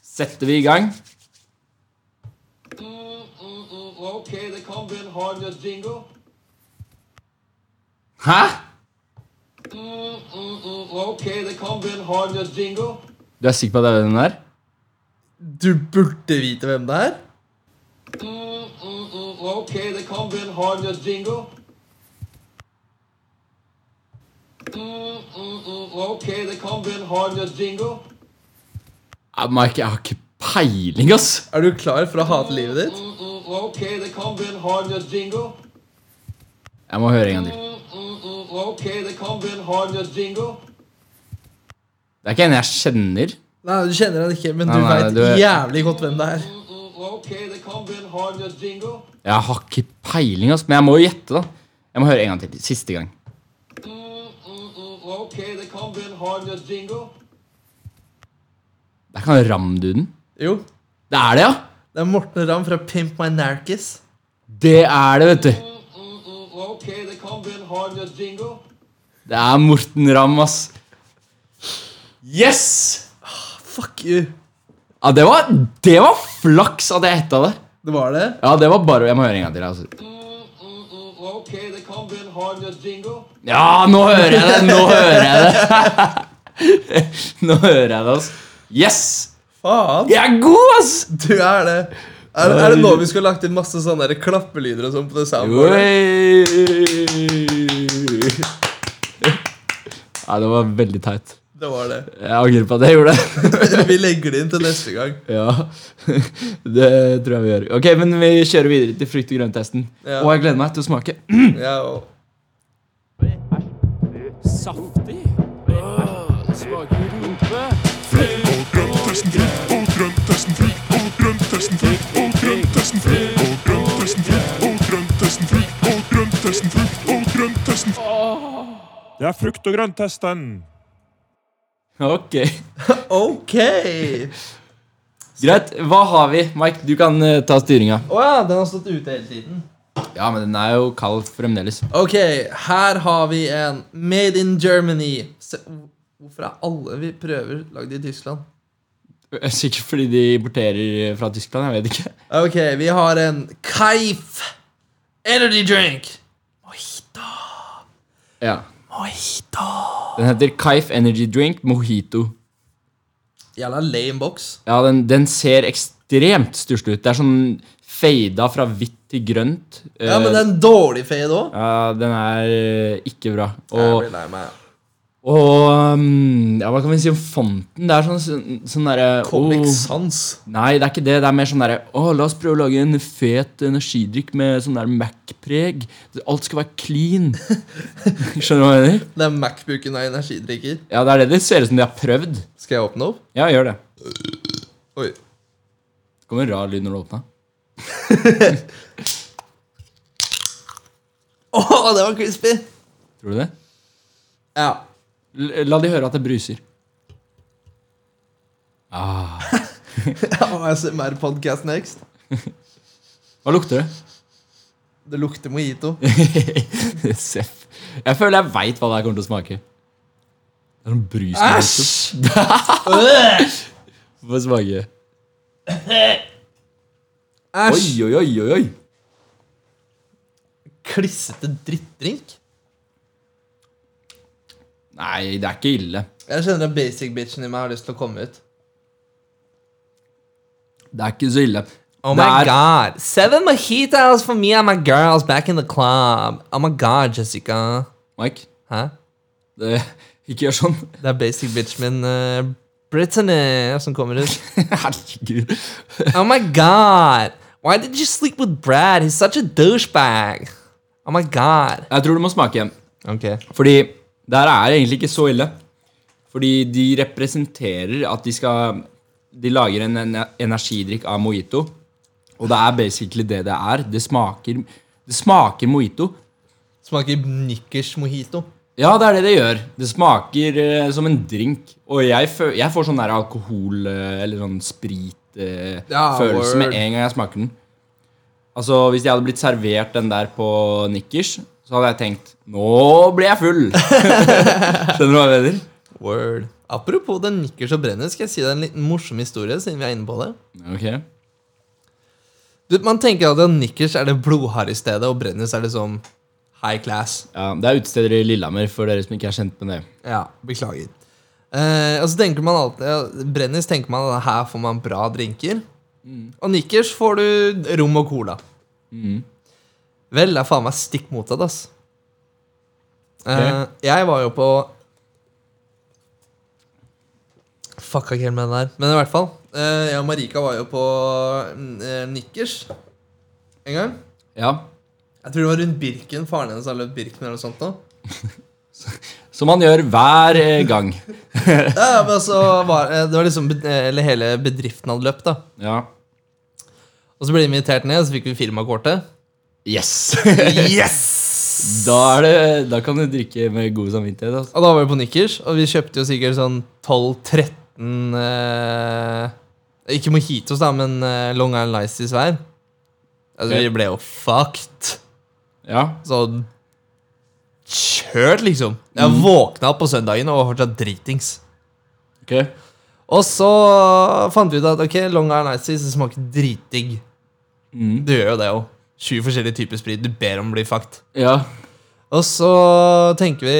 S3: Setter vi i gang?
S6: Ok, det kan bli en hard nøtt jingle.
S3: Hæ?
S6: Ok, det kan bli en hard nøtt jingle.
S3: Du er sikker på at det er den der?
S4: Du burde vite hvem det er.
S6: Ok, det kan bli en hard nøtt jingle. Ok, det kan bli en hard nøtt jingle.
S3: Ja, Mike, jeg har ikke peiling, ass.
S4: Er du klar for å hate livet ditt?
S6: Ok, det kan bli en hard nøtt jingle.
S3: Jeg må høre en gang til.
S6: Ok, det kan bli en hard nøtt jingle.
S3: Det er ikke en jeg kjenner.
S4: Nei, du kjenner han ikke, men
S3: Nei,
S4: du
S3: nei,
S4: veit
S3: du er-
S4: jævlig godt hvem det er.
S6: Ok, det kan bli en hard nøtt jingle.
S3: Jeg har ikke peiling, ass, men jeg må jo gjette, da. Jeg må høre en gang til. Siste gang.
S6: Ok, det kan bli en hard nøtt jingle.
S3: Det er ikke han Ramduden.
S4: Jo,
S3: Det er det, ja!
S4: det er Morten Ramm fra Pimp My Narkis.
S3: Det er det, vet du.
S6: Ok, det kan bli en hard nøtt jingle.
S3: Det er Morten Ramm, ass. Yes!
S4: Fuck you.
S3: Ja, det var, det var flaks at jeg hetta det.
S4: Det var det.
S3: Ja, det var bare Jeg må høre en gang til. Altså.
S6: Ok, det kan bli en hard nøtt jingle.
S3: Ja, nå hører jeg det! Nå hører jeg det. nå hører jeg det, ass. Yes!
S4: Faen.
S3: Jeg er god, ass!
S4: Du er det. Er, er det nå vi skulle lagt inn masse sånne der klappelyder og sånn på det soundboardet?
S3: Oi! Ja, det var veldig teit.
S4: Det var det.
S3: Jeg angrer på at jeg gjorde det.
S4: Vi legger det inn til neste gang.
S3: Ja, Det tror jeg vi gjør. Ok, men Vi kjører videre til frukt- og grønt-testen.
S4: Ja.
S3: Og jeg gleder meg til å smake.
S4: Ja, og
S2: Saftig. Øh, Smaker rumpe.
S7: Det er frukt- og grønttesten.
S3: Ok,
S4: Ok! Å
S3: Greit. Hva har vi? Mike, du kan eh, ta styringa.
S4: ja, den har stått ute hele tiden.
S3: Ja, men den er jo kald fremdeles.
S4: Ok, her har vi en Made in Germany. Se, hvorfor er alle vi prøver lagd i Tyskland?
S3: Sikkert fordi de importerer fra Tyskland. Jeg vet ikke.
S4: Ok, vi har en Kaif Energy Drink.
S3: Ja. Den heter Kaif Energy Drink Mojito.
S4: Jævla lame box.
S3: Ja, den, den ser ekstremt stusslig ut. Det er sånn fada fra hvitt til grønt.
S4: Ja, men det er en dårlig fade òg.
S3: ja, den er eh, ikke bra.
S4: Jeg
S3: Og
S4: blir lei meg.
S3: Og um, ja, hva kan vi si om fonten? Det er sånn, sånn, sånn derre oh.
S4: Comic Sans.
S3: Nei, det er ikke det. Det er mer sånn derre Å, la oss prøve å lage en fet energidrikk med sånn der Mac-preg. Alt skal være clean. Skjønner du hva jeg mener?
S4: Det er Macbooken av energidrikker.
S3: Ja, det er det det ser ut som de har prøvd.
S4: Skal jeg åpne opp?
S3: Ja, gjør det.
S4: Oi.
S3: Det kom en rar lyd når du åpna.
S4: Å, det var crispy!
S3: Tror du det?
S4: Ja.
S3: L la de høre at det bruser.
S4: ASMR-podcast next.
S3: Hva lukter det?
S4: Det lukter mojito.
S3: Seff. Jeg føler jeg veit hva det her kommer til å smake. Det er noen brus i nettopp. Få smake. Oi,
S4: Æsj!
S3: oi, oi, oi, oi.
S4: Klissete drittdrink.
S3: Nei, det er ikke ille.
S4: Jeg kjenner at basic bitchen i meg har lyst til å komme ut.
S3: Det er ikke så ille.
S4: Oh
S3: det
S4: my
S3: er,
S4: god. Seven mojitos for me and my girls back in the club. Oh my god, Jessica.
S3: Mike,
S4: Hæ?
S3: det, ikke gjør sånn.
S4: Det er basic bitch min eh, Brittany som kommer ut.
S3: Herregud.
S4: Oh my god. Why did you sleep with Brad? He's such a douchebag. Oh my god.
S3: Jeg tror du må smake.
S4: Ok.
S3: Fordi det her er egentlig ikke så ille. Fordi de representerer at de skal De lager en en energidrikk av mojito. Og det er basically det det er. Det smaker, det smaker mojito.
S4: Smaker nikkers mojito.
S3: Ja, det er det det gjør. Det smaker eh, som en drink. Og jeg, fø jeg får sånn der alkohol- eh, eller sånn spritfølelse eh,
S4: Ja,
S3: følelse med
S4: word.
S3: en gang jeg smaker den. Altså, Hvis jeg hadde blitt servert den der på Nikkers, så hadde jeg tenkt Nå blir jeg full! Skjønner du hva jeg mener?
S4: Word. Apropos den nikkers og brenner, skal jeg si deg en liten morsom historie, siden vi er inne på det.
S3: Ok.
S4: Du, man tenker at nikkers er det blodharry stedet, og brenners er liksom high class.
S3: Ja, Det er utesteder i Lillehammer, for dere som ikke er kjent med det.
S4: Ja, beklager. Eh, og så tenker man alltid ja, Brennis tenker man at her får man bra drinker. Og nikkers får du rom og cola. Vel, det er faen meg stikk motsatt, ass. Eh, jeg var jo på Fucka ikke helt med den der. Men i hvert fall. eh, jeg og Marika var jo på eh, nikkers en gang.
S3: Ja,
S4: Jeg tror det var rundt Birken. Faren hennes har løpt Birken eller noe sånt. nå
S3: Som man gjør hver eh, gang.
S4: Ja, men så var, eh, det var liksom bed- eh, eller hele bedriften hadde løpt, da.
S3: Ja.
S4: Og så ble vi invitert ned, så fikk vi firmakortet.
S3: Yes!
S4: Yes!
S3: da, er det, da kan du drikke med god samvittighet. Altså.
S4: Og da var vi på Nikkers, og vi kjøpte jo sikkert sånn 12-13 eh, Ikke mojitos, da, men eh, Long Island Lices hver. Altså,
S3: Ok.
S4: vi ble jo fucked.
S3: Ja,
S4: Sånn kjørt, liksom. Jeg våkna opp på søndagen og var fortsatt dritings.
S3: ok.
S4: Og så fant vi ut at ok, Long Island Ices det smaker dritdigg. Du gjør jo det òg. 20 forskjellige typer sprit. Du ber om å bli fucked.
S3: Ja,
S4: Og så tenker vi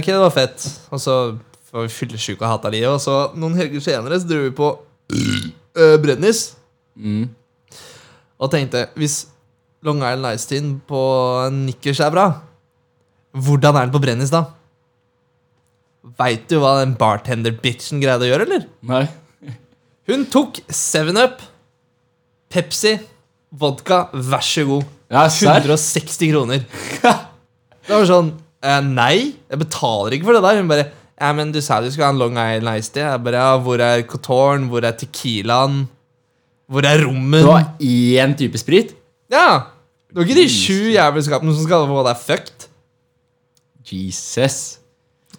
S4: ok, det var fett. Og så var vi fyllesyke og hata livet. Og så noen helger senere så dro vi på øh, Brennis. Og tenkte hvis Long Island Ice Teen på Nikkers er bra, hvordan er den på Brennis da? Veit du hva den bartender-bitchen greide å gjøre, eller?
S3: nei.
S4: Hun tok 7-Up, Pepsi, vodka, vær så god.
S3: Ja, serr?
S4: 160 kroner. Det var sånn eh, Nei, jeg betaler ikke for det der. Hun bare Ja, men du sa du skulle ha en Long Island Ice Tea. Jeg bare Ja, hvor er Cotorn? Hvor er Tequilaen? Hvor er
S3: Det
S4: rommen?
S3: var én type sprit?
S4: Ja! Det var ikke de sju jævelskapene som skal få deg fucked.
S3: Jesus.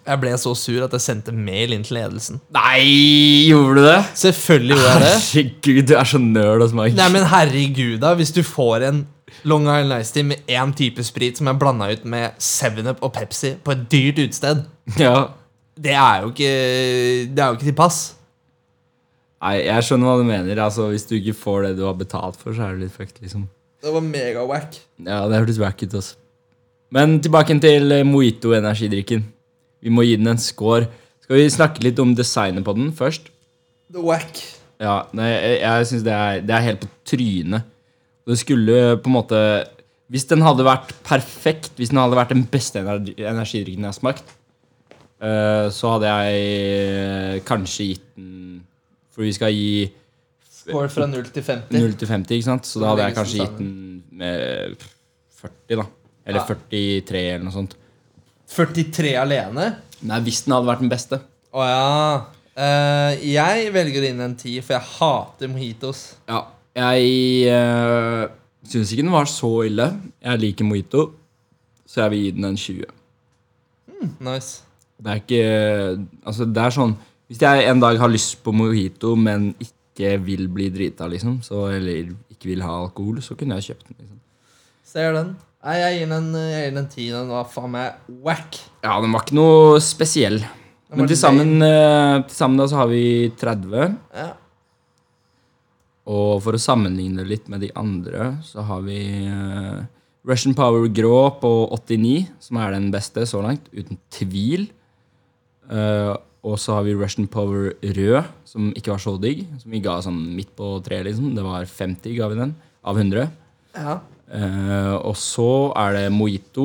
S4: Jeg ble så sur at jeg sendte mail inn til ledelsen.
S3: Nei, gjorde du det?
S4: Selvfølgelig gjorde jeg det.
S3: Herregud, du er så nerd, ass, Mike.
S4: Nei, men herregud, da. Hvis du får en Long Island Ice Tea med én type sprit som er blanda ut med 7-Up og Pepsi på et dyrt utested,
S3: Ja.
S4: det er jo ikke Det er jo ikke til pass.
S3: Nei, jeg skjønner hva du mener. Altså, Hvis du ikke får det du har betalt for, så er du litt fucked, liksom.
S4: Det var megawack.
S3: Ja, det hørtes wack ut, altså. Men tilbake til eh, mojito-energidrikken. Vi må gi den en score. Skal vi snakke litt om designet på den først?
S4: The wack.
S3: Ja, nei, jeg, jeg syns det, er- det er helt på trynet. Det skulle på en måte Hvis den hadde vært perfekt, hvis den hadde vært den beste ener- energidrikken jeg har smakt, eh, så hadde jeg eh, kanskje gitt den For vi skal gi
S4: Går fra 0 til 50.
S3: 0 til 50, ikke sant? Så da hadde jeg
S4: Legges
S3: kanskje
S4: den
S3: gitt den med 40, da. Eller
S4: Ja.
S3: 43, eller noe sånt.
S4: 43 alene?
S3: Nei, hvis den hadde vært den beste.
S4: Å ja. Eh, jeg velger inn en 10, for jeg hater mojitos.
S3: Ja. Jeg uh, syns ikke den var så ille. Jeg liker mojito, så jeg vil gi den en 20.
S4: Nice.
S3: Det er ikke Altså, det er sånn Hvis jeg en dag har lyst på mojito, men ikke vil bli drita, liksom, så, eller ikke vil ha alkohol, så kunne jeg kjøpt den. liksom.
S4: Ser den. Nei, jeg gir den en- jeg gir den en 10. Den var faen meg whack.
S3: Ja, den var ikke noe spesiell.
S4: var
S3: Men til sammen, eh, til sammen da så har vi 30.
S4: Ja.
S3: Og for å sammenligne litt med de andre, så har vi eh, Russian Power grå på 89, som er den beste så langt, uten tvil. Eh, og så har vi Russian Power rød, som ikke var så digg. Som vi ga sånn midt på treet, liksom. Det var 50, ga vi den, av 100.
S4: Ja.
S3: Eh, og så er det Mojito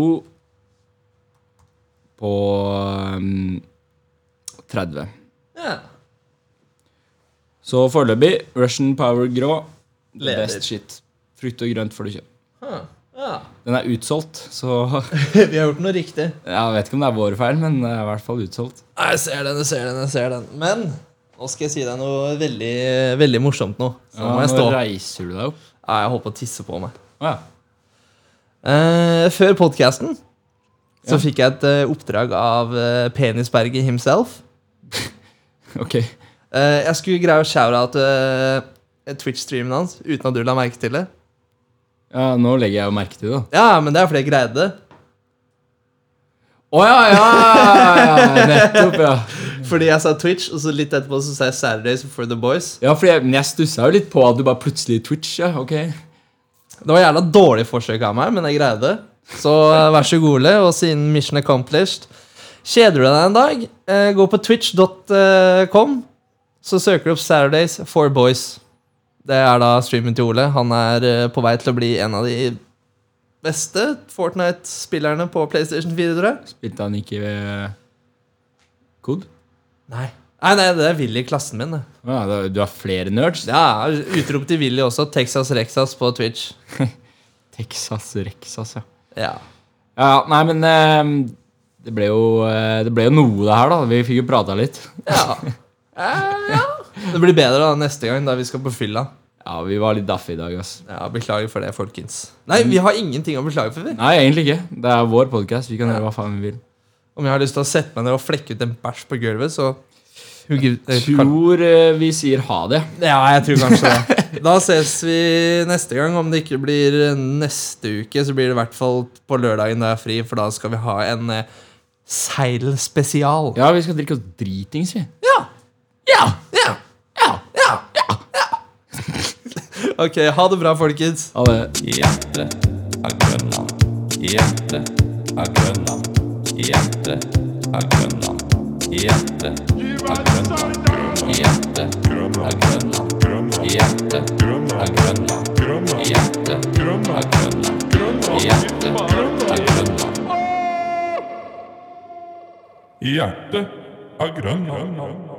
S3: på mm, 30.
S4: ja.
S3: Så foreløpig Russian Power grå. the
S4: Leder.
S3: Best shit. Frukt og grønt får du kjøpt.
S4: Huh. ja.
S3: Den er utsolgt, så
S4: Vi har gjort noe riktig.
S3: jeg vet ikke om det er vår feil, men det er i hvert fall utsolgt.
S4: Nei, Jeg ser den, jeg ser den, jeg ser den. Men nå skal jeg si deg noe veldig, veldig morsomt nå. Så nå må jeg stå.
S3: Nå reiser du deg opp.
S4: Ja, jeg holdt på å tisse på meg.
S3: Å ja.
S4: Eh, før podkasten så fikk jeg et eh, oppdrag av eh, Penisberget himself.
S3: Ok.
S4: Eh, jeg skulle greie å shout-out eh, Twitch-streamen hans uten at du la merke til det.
S3: Ja, nå legger jeg jo merke til det. da.
S4: Ja, men det er fordi jeg greide det.
S3: Å ja, ja! Nettopp, ja.
S4: Fordi jeg sa Twitch, og så litt etterpå så sa jeg Saturdays for the boys.
S3: Ja, for jeg, men jeg stussa jo litt på at du bare plutselig twitcha. ok?
S4: Det var jævla dårlig forsøk av meg, men jeg greide det. Så eh, vær så god, Ole, og siden mission accomplished Kjeder du deg en dag, eh, gå på twitch.com, så søker du opp Saturdays for boys. Det er da streamen til Ole. Han er eh, på vei til å bli en av de beste Fortnite-spillerne på PlayStation 4, tror jeg.
S3: Spilte han ikke ved Kod?
S4: Nei. Nei, nei, det er Willy i klassen min. det.
S3: Å Ja, da- du har flere nerds?
S4: Ja, Utrop til Willy også. Texas Rexas på Twitch.
S3: Texas Rexas, ja.
S4: Ja.
S3: ja. Nei, men eh, det ble, jo, eh, det ble jo noe, det her, da. Vi fikk jo prata litt.
S4: ja. Eh, ja. Det blir bedre da neste gang, da vi skal på fylla.
S3: Ja, vi var litt daffe i dag, ass.
S4: Ja, Beklager for det, folkens. Nei, vi har ingenting å beklage for. vi.
S3: Nei, egentlig ikke. Det er vår podkast. Vi kan gjøre hva faen vi vil.
S4: Om jeg har lyst til å sette meg ned og flekke ut en bæsj på gulvet, så Who gives- eh, kan-
S3: Tror eh, vi sier ha det.
S4: Ja, jeg tror kanskje det. Da ses vi neste gang. Om det ikke blir eh, neste uke, så blir det i hvert fall på lørdagen da jeg er fri, for da skal vi ha en eh, seilspesial.
S3: Ja, vi skal drikke oss dritings, vi.
S4: Ja! Ja! Ja! Ja! Ok, ha det bra, folkens.
S3: Ha det.
S1: Hjertet er Grønland. Hjertet er Grønland. Hjertet er Grønland. Hjertet er Grønland. Hjertet er Grønland. Hjertet er Grønland. Hjertet er Grønland. Hjertet er Grønland.
S7: Hjertet av Grønland.